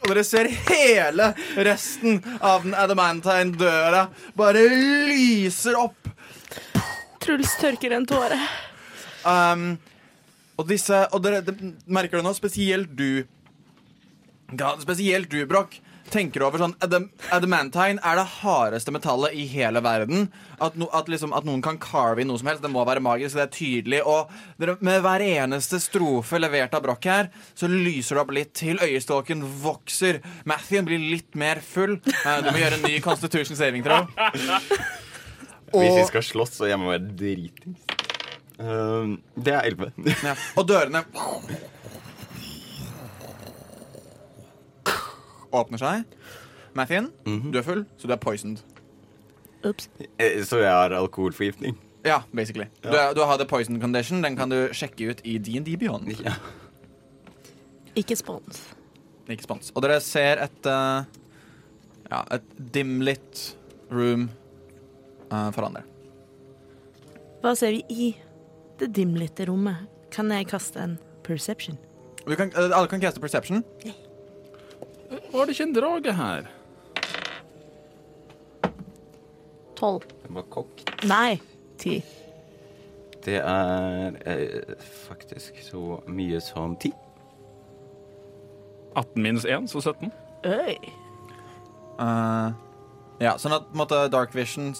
K: Og dere ser hele resten av den Adamantine-døra bare lyser opp.
C: Truls tørker en tåre.
K: Um, og disse Og dere det merker det nå, spesielt du. Ga- Spesielt du, Broch. tenker over sånn adam, Adamantine er det hardeste metallet i hele verden. At, no, at, liksom, at noen kan carve i noe som helst. Det må være magisk, det er tydelig. Og dere, med hver eneste strofe levert av Broch her, så lyser det opp litt til. Øyestalken vokser. Mathien blir litt mer full. Eh, Du må gjøre en ny Constitution saving throw.
N: Hvis vi
K: Og,
N: skal slåss, så jeg må være dritings. Ehm, det er 11.
K: ja, og dørene åpner seg. Mathien, du er full, så du er poisoned.
C: Ups.
N: Eh, så jeg har alkoholforgiftning.
K: Ja, basically. Du, er- du har the poison condition. Den kan du sjekke ut i D&D Beyond.
N: Ja.
C: Ikke spons.
K: Ikke spons. Og dere ser et eh, Ja, et dimlit room eh, foran dere.
C: Hva ser vi i det dimlitte rommet? Kan jeg kaste en perception?
K: Du kan, eh, alle kan caste perception.
F: Var det ikke en drage her?
C: Tolv.
N: Jeg var kokk.
C: Nei, ti.
N: Det er eh, faktisk så mye som 10.
F: 18 minus 1, så 17.
C: Øy.
K: Eh, ja, sånn at på en måte, dark vision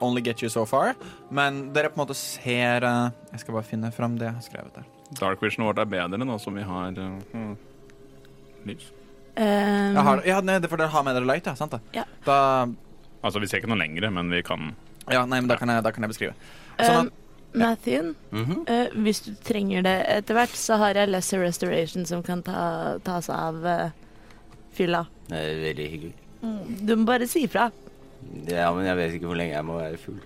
K: only get you so far. Men dere på en måte ser eh, Jeg skal bare finne fram det jeg har skrevet der.
F: Dark Vision vårt er bedre nå som vi har eh, lys.
C: Um,
K: Jeg har, ja, nei, det er for dere har med dere light, ja. Sant det?
C: Ja.
K: Da,
F: Altså, vi ser ikke noe lengre, men vi kan
K: ja, nei, men da kan jeg, da kan jeg beskrive. Sånn at,
C: Mathien, ehm,
A: Mhm.
C: eh, hvis du trenger det etter hvert, så har jeg Lesser Restoration som kan ta, ta seg av eh, fylla.
A: Det er veldig hyggelig.
C: Du må bare si ifra.
A: Ja, men jeg vet ikke hvor lenge jeg må være full.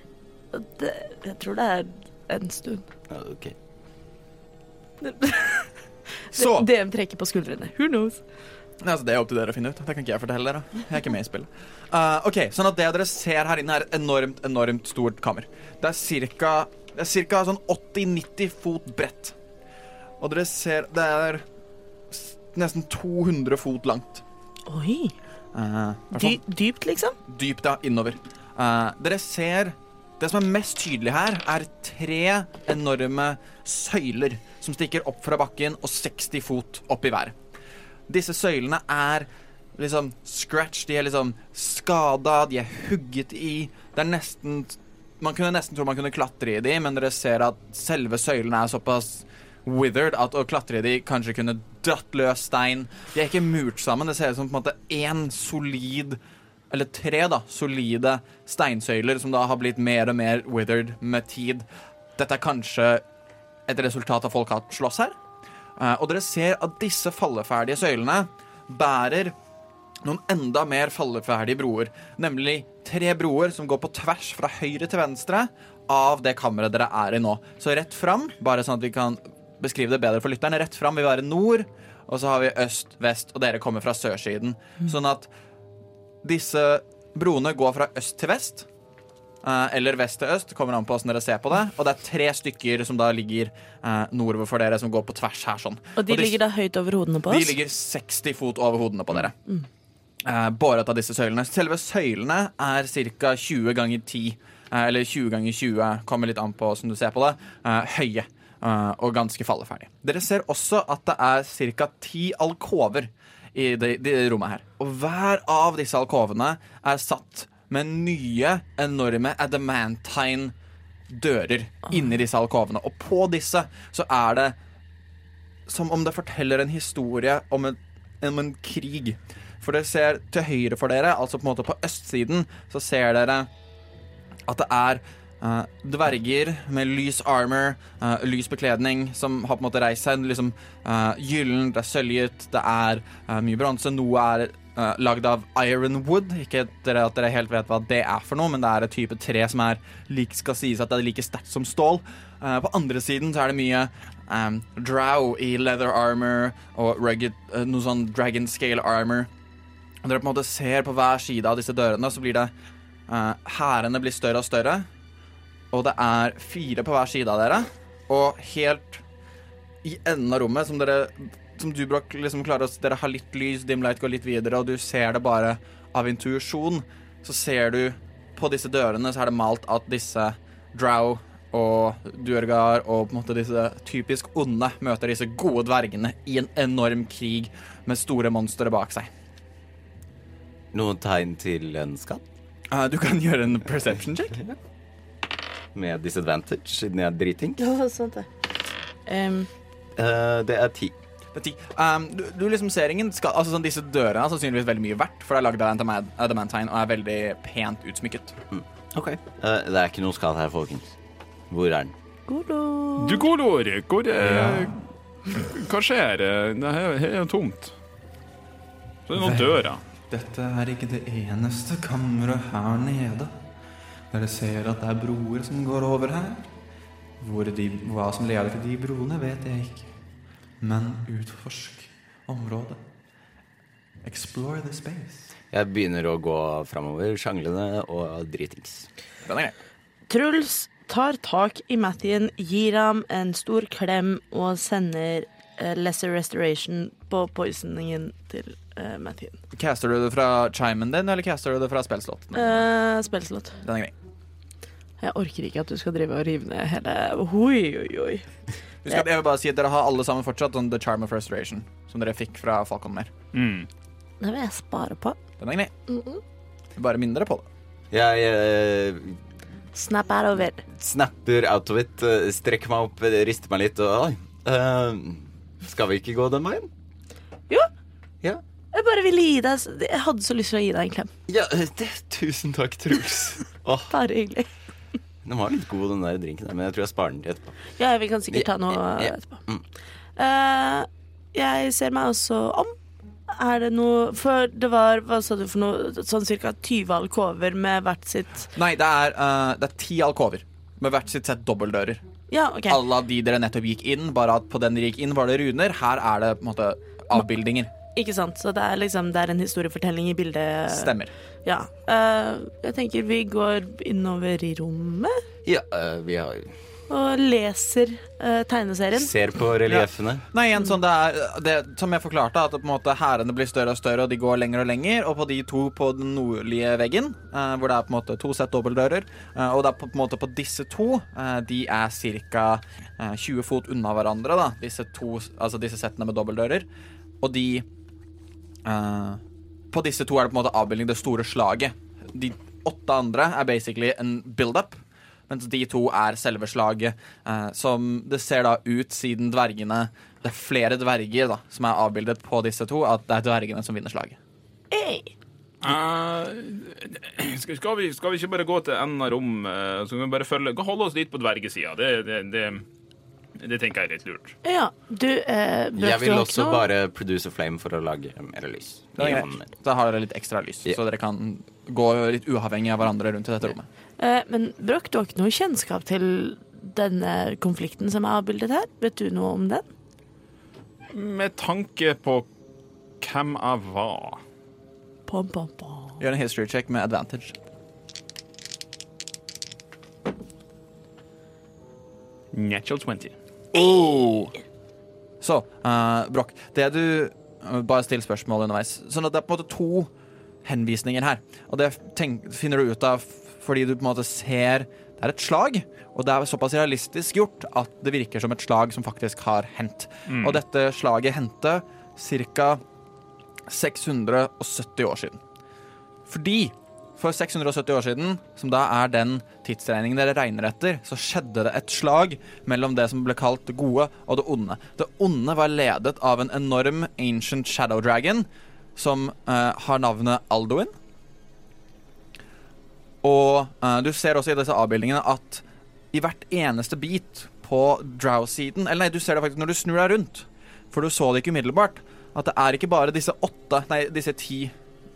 C: Og Det, jeg tror det er en stund.
A: Ja, ok.
K: så
C: Det, DM trekker på skuldrene. Who knows?
K: Nei, Altså, det er opp til dere å finne ut. Det kan ikke jeg fortelle dere. Jeg er ikke med i spillet. Eh, ok, sånn at Det dere ser her inne, er et enormt enormt stort kammer. Det er ca. Sånn 80-90 fot bredt. Og dere ser Det er s- nesten 200 fot langt.
B: Oi.
K: Uh,
B: Dy dypt, liksom?
K: dypt da, innover. Eh, dere ser Det som er mest tydelig her, er tre enorme søyler som stikker opp fra bakken og 60 fot opp i været. Disse søylene er liksom scratch, de er liksom skada, de er hugget i. Det er nesten Man kunne nesten tro man kunne klatre i de, men dere ser at selve søylene er såpass withered at å klatre i de kanskje kunne dratt løs stein. De er ikke murt sammen. Det ser ut som på en måte én solid eller tre da, solide steinsøyler som da har blitt mer og mer withered med tid. Dette er kanskje et resultat av folk har slåss her. Eh, og dere ser at disse falleferdige søylene bærer noen enda mer falleferdige broer. Nemlig tre broer som går på tvers fra høyre til venstre av det kammeret dere er i nå. Så rett fram, bare sånn at vi kan beskrive det bedre for lytterne, rett fram vil være nord, og så har vi øst, vest, og dere kommer fra sørsiden. Sånn at disse broene går fra øst til vest. eh, Eller vest til øst, kommer an på hvordan dere ser på det. Og det er tre stykker som da ligger eh, nordover for dere, som går på tvers her. sånn
C: Og de
K: Og de-
C: ligger da høyt over hodene på
K: De
C: oss.
K: ligger 60 fot over hodene på dere. Eh, Båret av disse søylene. Selve søylene er ca. 20 ganger 10. eh, Eller 20 ganger 20, kommer litt an på hvordan du ser på det. eh, Høye eh, og ganske falleferdige. Dere ser også at det er ca. ti alkover i det, det rommet her. Og hver av disse alkovene er satt med nye, enorme adamantine dører inni disse alkovene. Og på disse så er det som om det forteller en historie om en, om en krig. For dere ser til høyre for dere, altså på en måte på østsiden, så ser dere at det er eh, dverger med lys armor, eh, lys bekledning, som har på en måte reist seg. Liksom, eh, gyllen, det er søljet, det er eh, mye bronse. Noe er uh, lagd av ironwood. Ikke at dere, at dere helt vet hva det er for noe, men det er et type tre som er lik, skal sies at det er like sterkt som stål. Eh, på andre siden så er det mye um, drow i leather armor og rugged, eh, noe sånn dragon scale armor. Når dere på en måte ser på hver side av disse dørene, så blir det eh, Hærene blir større og større. Og det er fire på hver side av dere. Og helt i enden av rommet, som dere Som du, Broch, liksom klarer å s- Dere har litt lys, dimlight går litt videre, og du ser det bare av intuisjon. Så ser du på disse dørene, så er det malt at disse drow og duergar og på en måte disse typisk onde møter disse gode dvergene i en enorm krig med store monstre bak seg.
A: Noen tegn til en skatt?
N: Eh, du kan gjøre en perception check.
A: Ja.
N: Med disadvantage, siden jeg er driting.
B: Ja,
C: sånn,
B: sant det.
C: Em,
A: Eh, det er ti.
K: Det er ti. Um, du, du liksom ser ingen skal, altså sånn, Disse dørene er sannsynligvis veldig mye verdt, for det er lagd av adama- adamantine og er veldig pent utsmykket.
A: Ok. Eh, det er ikke noe skatt her, folkens. Hvor er den?
F: Du, Kolor, hvor eh, Hva skjer? Det her her er jo tomt. Så det er noen dører.
K: Dette er ikke det eneste kammeret her nede. Dere ser at det er broer som går over her. Hvor de, hva som leder til de broene, vet jeg ikke. Men utforsk området. Explore the space.
A: Jeg begynner å gå framover, sjanglende og dritings.
K: Den er grei.
C: Truls tar tak i Mathien, gir ham en stor klem og sender eh, Lesser Restoration på poisoningen til uh, Mathien.
K: Caster du det fra chimen din, eller caster du det fra spillslåten?
C: Uh, Spillslått.
K: Den er grei.
C: Jeg orker ikke at du skal drive og rive ned hele Hoi, oi, oi.
K: Husk at jeg vil bare si at dere har alle sammen fortsatt sånn The Charm of Restoration, som dere fikk fra Falcon Mer.
F: Mm.
C: Det vil jeg spare på.
K: Den er grei. Bare minn dere på det.
A: Jeg eh,
C: Snap er over.
A: snapper out of it, eh, strekker meg opp, eh, rister meg litt og Oi, eh, skal vi ikke gå den veien?
C: Jeg bare ville gi deg Jeg hadde så lyst til å gi deg en klem.
A: Ja, eh, det, tusen takk, Truls. Åh,
C: Bare hyggelig.
A: Den var litt god, den der drinken der, men jeg tror jeg sparer den til etterpå.
C: Ja, vi kan sikkert ta noe
A: Ja, ja.
C: etterpå.
A: Mm.
C: Eh, jeg ser meg også om. Er det noe For det var hva sa du for noe, sånn ca. 20 alkover med hvert sitt
K: Nei, det er, eh, det er ti alkover med hvert sitt sett dobbeltdører.
C: Ja, OK.
K: Alle av de dere nettopp gikk inn, bare at på den dere gikk inn var det runer. Her er det på en måte avbildninger.
C: Ikke sant. Så det er liksom Det er en historiefortelling i bildet.
K: Stemmer.
C: Ja. Eh, jeg tenker vi går innover i rommet
A: Ja, eh, vi har,
C: og leser eh, tegneserien.
A: ser på relieffene.
K: Nei, igjen sånn det er det, Som jeg forklarte, at på en måte hærene blir større og større, og de går lenger og lenger, og på de to på den nordlige veggen, eh, hvor det er på en måte to sett dobbeltdører, eh, og det er på en måte på disse to, eh, de er ca. Eh, 20 fot unna hverandre, da, disse to, altså disse settene med dobbeltdører, og de eh, På disse to er det på en måte avbildning det store slaget. De åtte andre er basically en build-up. Mens de to er selve slaget, eh, som det ser da ut siden dvergene Det er flere dverger da, som er avbildet på disse to, at det er dvergene som vinner slaget.
F: Eh, skal, skal, vi, skal vi ikke bare gå til enden av rom, eh, så kan vi bare følge Holde oss litt på dvergesida. Det, det, det, det tenker jeg er litt lurt.
C: Ja, du eh, brøt
A: Jeg vil
C: du
A: også
C: noe?
A: bare produce flame for å lage mer lys.
K: Det er
A: Ja,
K: greit.
A: men-
K: Da har dere litt ekstra lys,
A: Ja.
K: så dere kan gå litt uavhengig av hverandre rundt i dette rommet.
C: Eh, men brøk du har ikke noe kjennskap til denne konflikten som er avbildet her? Vet du noe om den?
F: Med tanke på hvem jeg var
C: Pom, pom, pom.
K: Gjør en history check med advantage.
F: Natural 20.
K: Så, eh, Broch, det du eh, Bare still spørsmål underveis. Sånn at det er på en måte to henvisninger her. Og det tenk, finner du ut av f- fordi du på en måte ser Det er et slag, og det er såpass realistisk gjort at det virker som et slag som faktisk har hendt. Og dette slaget hendte ca. 670 år siden. Fordi for 670 år siden, som da er den tidsregningen dere regner etter, så skjedde det et slag mellom det som ble kalt det gode og det onde. Det onde var ledet av en enorm ancient shadow dragon som eh, har navnet Alduin. Og eh, du ser også i disse avbildningene at i hvert eneste bit på drow-siden Eller nei, du ser det faktisk når du snur deg rundt, for du så det ikke umiddelbart, at det er ikke bare disse åtte, nei, disse ti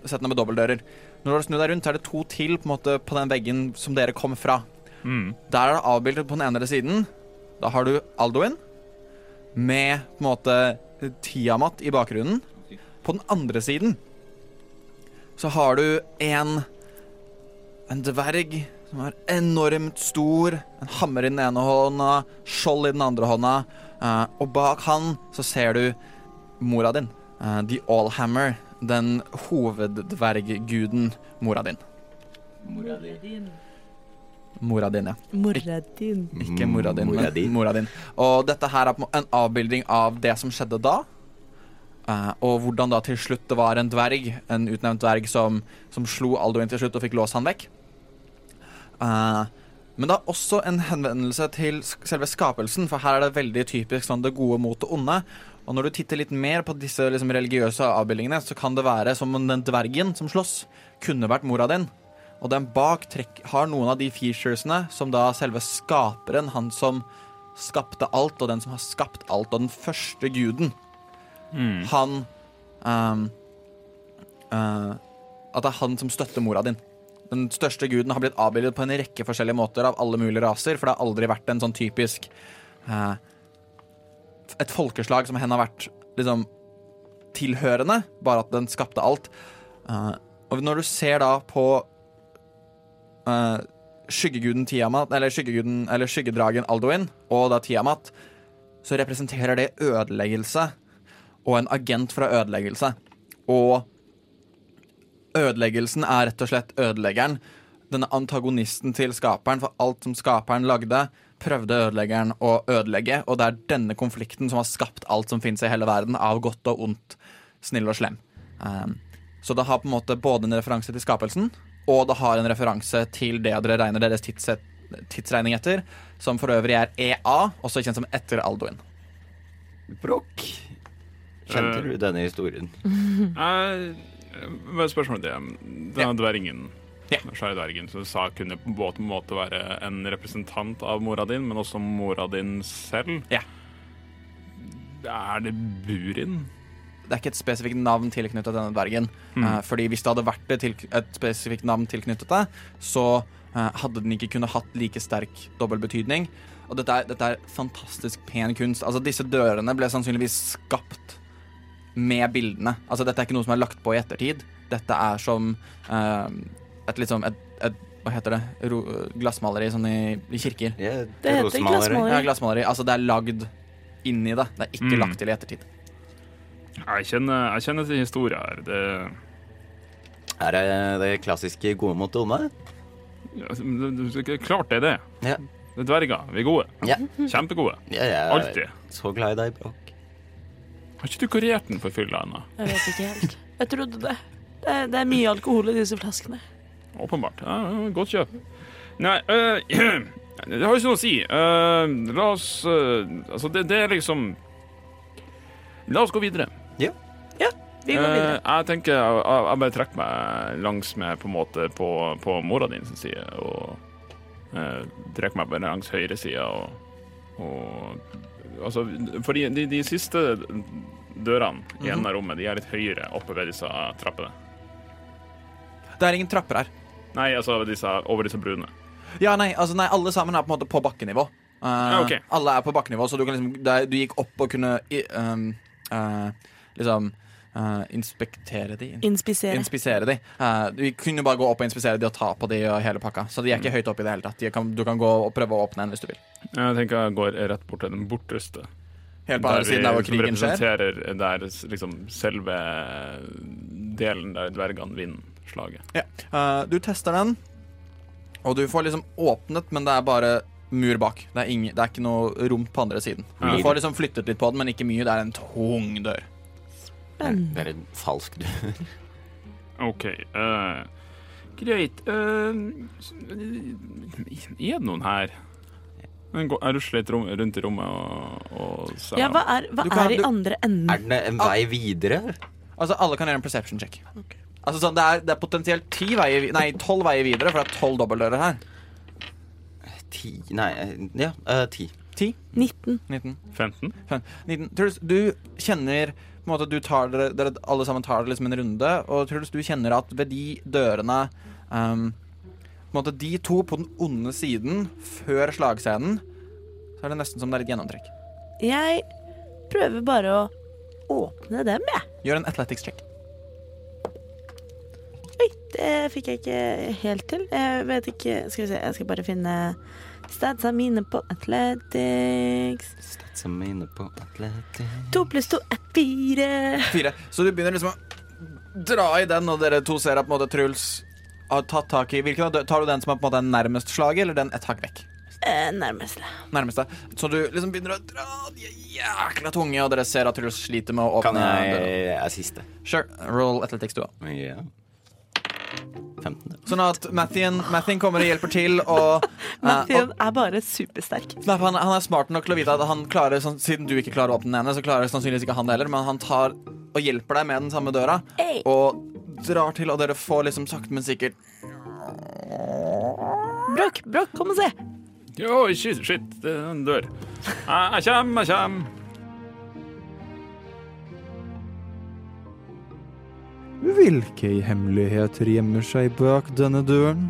K: settene med dobbeltdører. Når du har snudd deg rundt, så er det to til på, en måte, på den veggen som dere kom fra.
F: Mm.
K: Der er det avbildet på den ene siden. Da har du Aldoin med på en måte Tiamat i bakgrunnen. På den andre siden så har du en en dverg som er enormt stor, en hammer i den ene hånda, skjold i den andre hånda, eh, og bak han så ser du mora din. eh, The Allhammer, den hoveddvergguden mora din. Mora din, ja.
C: Mora din.
K: Ikke mora din,
A: Mora
K: men
A: di.
K: mora din. Og dette her er på en måte en avbildning av det som skjedde da. Eh, og hvordan da til slutt det var en dverg, en utnevnt dverg, som, som slo Alduin til slutt og fikk låst han vekk. Eh, men det er også en henvendelse til sk- selve skapelsen, for her er det veldig typisk sånn det gode mot det onde. Og når du titter litt mer på disse liksom, religiøse avbildningene, så kan det være som om den dvergen som slåss, kunne vært mora din. Og den bak trekk, har noen av de featuresene som da selve skaperen, han som skapte alt, og den som har skapt alt, og den første guden, han ehm, eh, At det er han som støtter mora din. Den største guden har blitt avbildet på en rekke forskjellige måter av alle mulige raser, for det har aldri vært en sånn typisk eh, Et folkeslag som henne har vært liksom tilhørende, bare at den skapte alt. Eh, og når du ser da på eh, skyggeguden Tiamat, eller skyggeguden, eller skyggedragen Alduin, og da Tiamat, så representerer det ødeleggelse og en agent fra ødeleggelse. Og ødeleggelsen er rett og slett ødeleggeren. Denne antagonisten til skaperen, for alt som skaperen lagde, prøvde ødeleggeren å ødelegge, og det er denne konflikten som har skapt alt som fins i hele verden, av godt og ondt, snill og slem. Um, så det har på en måte både en referanse til skapelsen, og det har en referanse til det dere regner deres tidset, tidsregning etter, som for øvrig er EA, også kjent som etter Alduin.
M: Brokk, kjente
F: Eh.
M: du denne historien?
F: Jeg Eh, Hva er spørsmålet til deg? Denne dvergen,
K: Ja.
F: den svære dvergen som du sa kunne på både en måte være en representant av mora din, men også mora din selv.
K: Ja.
F: Er det Burin?
K: det er ikke et spesifikt navn tilknyttet denne dvergen. Eh, fordi hvis det hadde vært det til, et spesifikt navn tilknyttet det, så eh, hadde den ikke kunnet hatt like sterk dobbeltbetydning. Og dette er, dette er fantastisk pen kunst. Altså, disse dørene ble sannsynligvis skapt med bildene. Altså, dette er ikke noe som er lagt på i ettertid. Dette er som eh, et liksom et, et Hva heter det? Ro, glassmaleri sånn i, i kirker.
B: Det heter glassmaleri.
K: Ja, glassmaleri. Altså, det er lagd inni det. Det er ikke
F: Mm.
K: lagt til i ettertid.
F: Jeg kjenner, jeg kjenner til historien her. Det,
M: Er det det klassiske gode mot det onde?
F: ja, det, det, det klart det er det.
M: Ja.
F: Det er dverger. Vi er gode.
M: Ja.
F: Kjempegode.
M: Jeg er
F: Alltid.
M: så glad i deg, Brokk.
F: Har ikke du kurert den for fylla ennå?
C: Jeg vet ikke helt. Jeg trodde det. Det er, det er mye alkohol i disse flaskene.
F: Åpenbart. Ja, ja, godt kjøp. Nei, øh, det har jo ikke noe å si. Øh, la oss øh, Altså, det, det er liksom La oss gå videre.
B: Vi går
F: Eh,
B: videre.
F: jeg tenker jeg, jeg jeg bare trekker meg langs med på en måte på, på mora din sin side, og eh, trekker meg bare langs høyre side, og, og Altså, fordi de, de siste dørene
B: Mhm.
F: i enden av rommet, de er litt høyere oppe ved disse trappene.
K: Det er ingen trapper her.
F: Nei, altså ved disse, over disse bruene.
K: Ja, nei, altså, nei, alle sammen er på en måte på bakkenivå. Eh,
F: ok.
K: Alle er på bakkenivå, så du, kan liksom, det er- du gikk opp og kunne i- ehm, eh, liksom eh, inspektere de. In
C: Inspisere.
K: Inspisere de. Eh, du kunne bare gå opp og inspisere de og ta på de og hele pakka. Så de
F: Mm.
K: er ikke høyt oppe i det hele tatt. De kan, du kan gå og prøve å åpne en hvis du vil.
F: Jeg tenker jeg går rett bort til den borteste.
K: Helt på andre
F: vi-
K: siden av hvor
F: som
K: krigen skjer.
F: representerer der s- liksom selve delen der dvergene vinner slaget.
K: Ja. Eh, du tester den, og du får liksom åpnet, men det er bare mur bak. Det er, ingen, det er ikke noe rom på andre siden.
F: Ja.
K: Du får liksom flyttet litt på den, men ikke mye. Det er en tung dør.
M: Det er en falsk du.
F: OK. eh, greit. eh, s- er det noen her? Men gå- Jeg rusler litt rom, rundt i rommet og, og ser
C: Ja, hva er, hva
K: Du kan-
C: er i
K: du-
C: andre enden?
M: Er det en vei videre?
K: Altså, alle kan gjøre en perception check. Altså, sånn, det, er, det er potensielt ti veier, vi- nei, tolv veier videre, for det er tolv dobbeltdører her.
M: Ti Nei, eh, ja, eh, ti.
C: 19.
K: 19.
F: 15?
K: 19. Truls, du kjenner på en måte, du tar dere, dere alle sammen tar det liksom en runde, og Truls, du kjenner at ved de dørene ehm, på en måte, De to på den onde siden før slagscenen, så er det nesten som det er litt gjennomtrekk.
C: Jeg prøver bare å åpne dem, jeg.
K: Gjør en athletics check.
C: Oi, det fikk jeg ikke helt til. Jeg vet ikke Skal vi se, jeg skal bare finne statsa mine på Athletics.
M: Statsa mine på Atletic.
C: To pluss to er fire.
K: Fire. Så du begynner liksom å dra i den, og dere to ser at på en måte Truls har tatt tak i Hvilken av dø- Tar du den som er på en måte nærmest slaget, eller den et hakk vekk?
C: Eh, nærmest.
K: Nærmeste. Så du liksom begynner å dra de er jækla tunge, og dere ser at Truls sliter med å åpne
A: Kan
K: døra.
A: jeg assiste?
K: Sure. Roll athletics, du òg.
N: Ja.
A: 15.
K: Sånn at Mathien, Mathien kommer og hjelper til, og, eh, og
B: Mathien er bare supersterk.
K: Nei, for han, han er smart nok til å vite at han klarer sånn, siden du ikke klarer å åpne den ene, så klarer sannsynligvis ikke han det heller, men han tar og hjelper deg med den samme døra,
C: Hey.
K: og drar til, og dere får liksom sakte, men sikkert
B: Brokk, brokk, kom og se.
F: Jo, shit, shit, det er en dør. Jeg jeg kjem, jeg kjem.
O: Hvilke hemmeligheter gjemmer seg bak denne døren?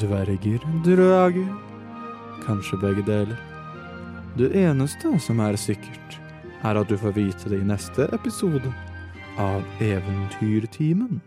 O: Dverger, drager Kanskje begge deler. Det eneste som er sikkert, er at du får vite det i neste episode av Eventyrtimen.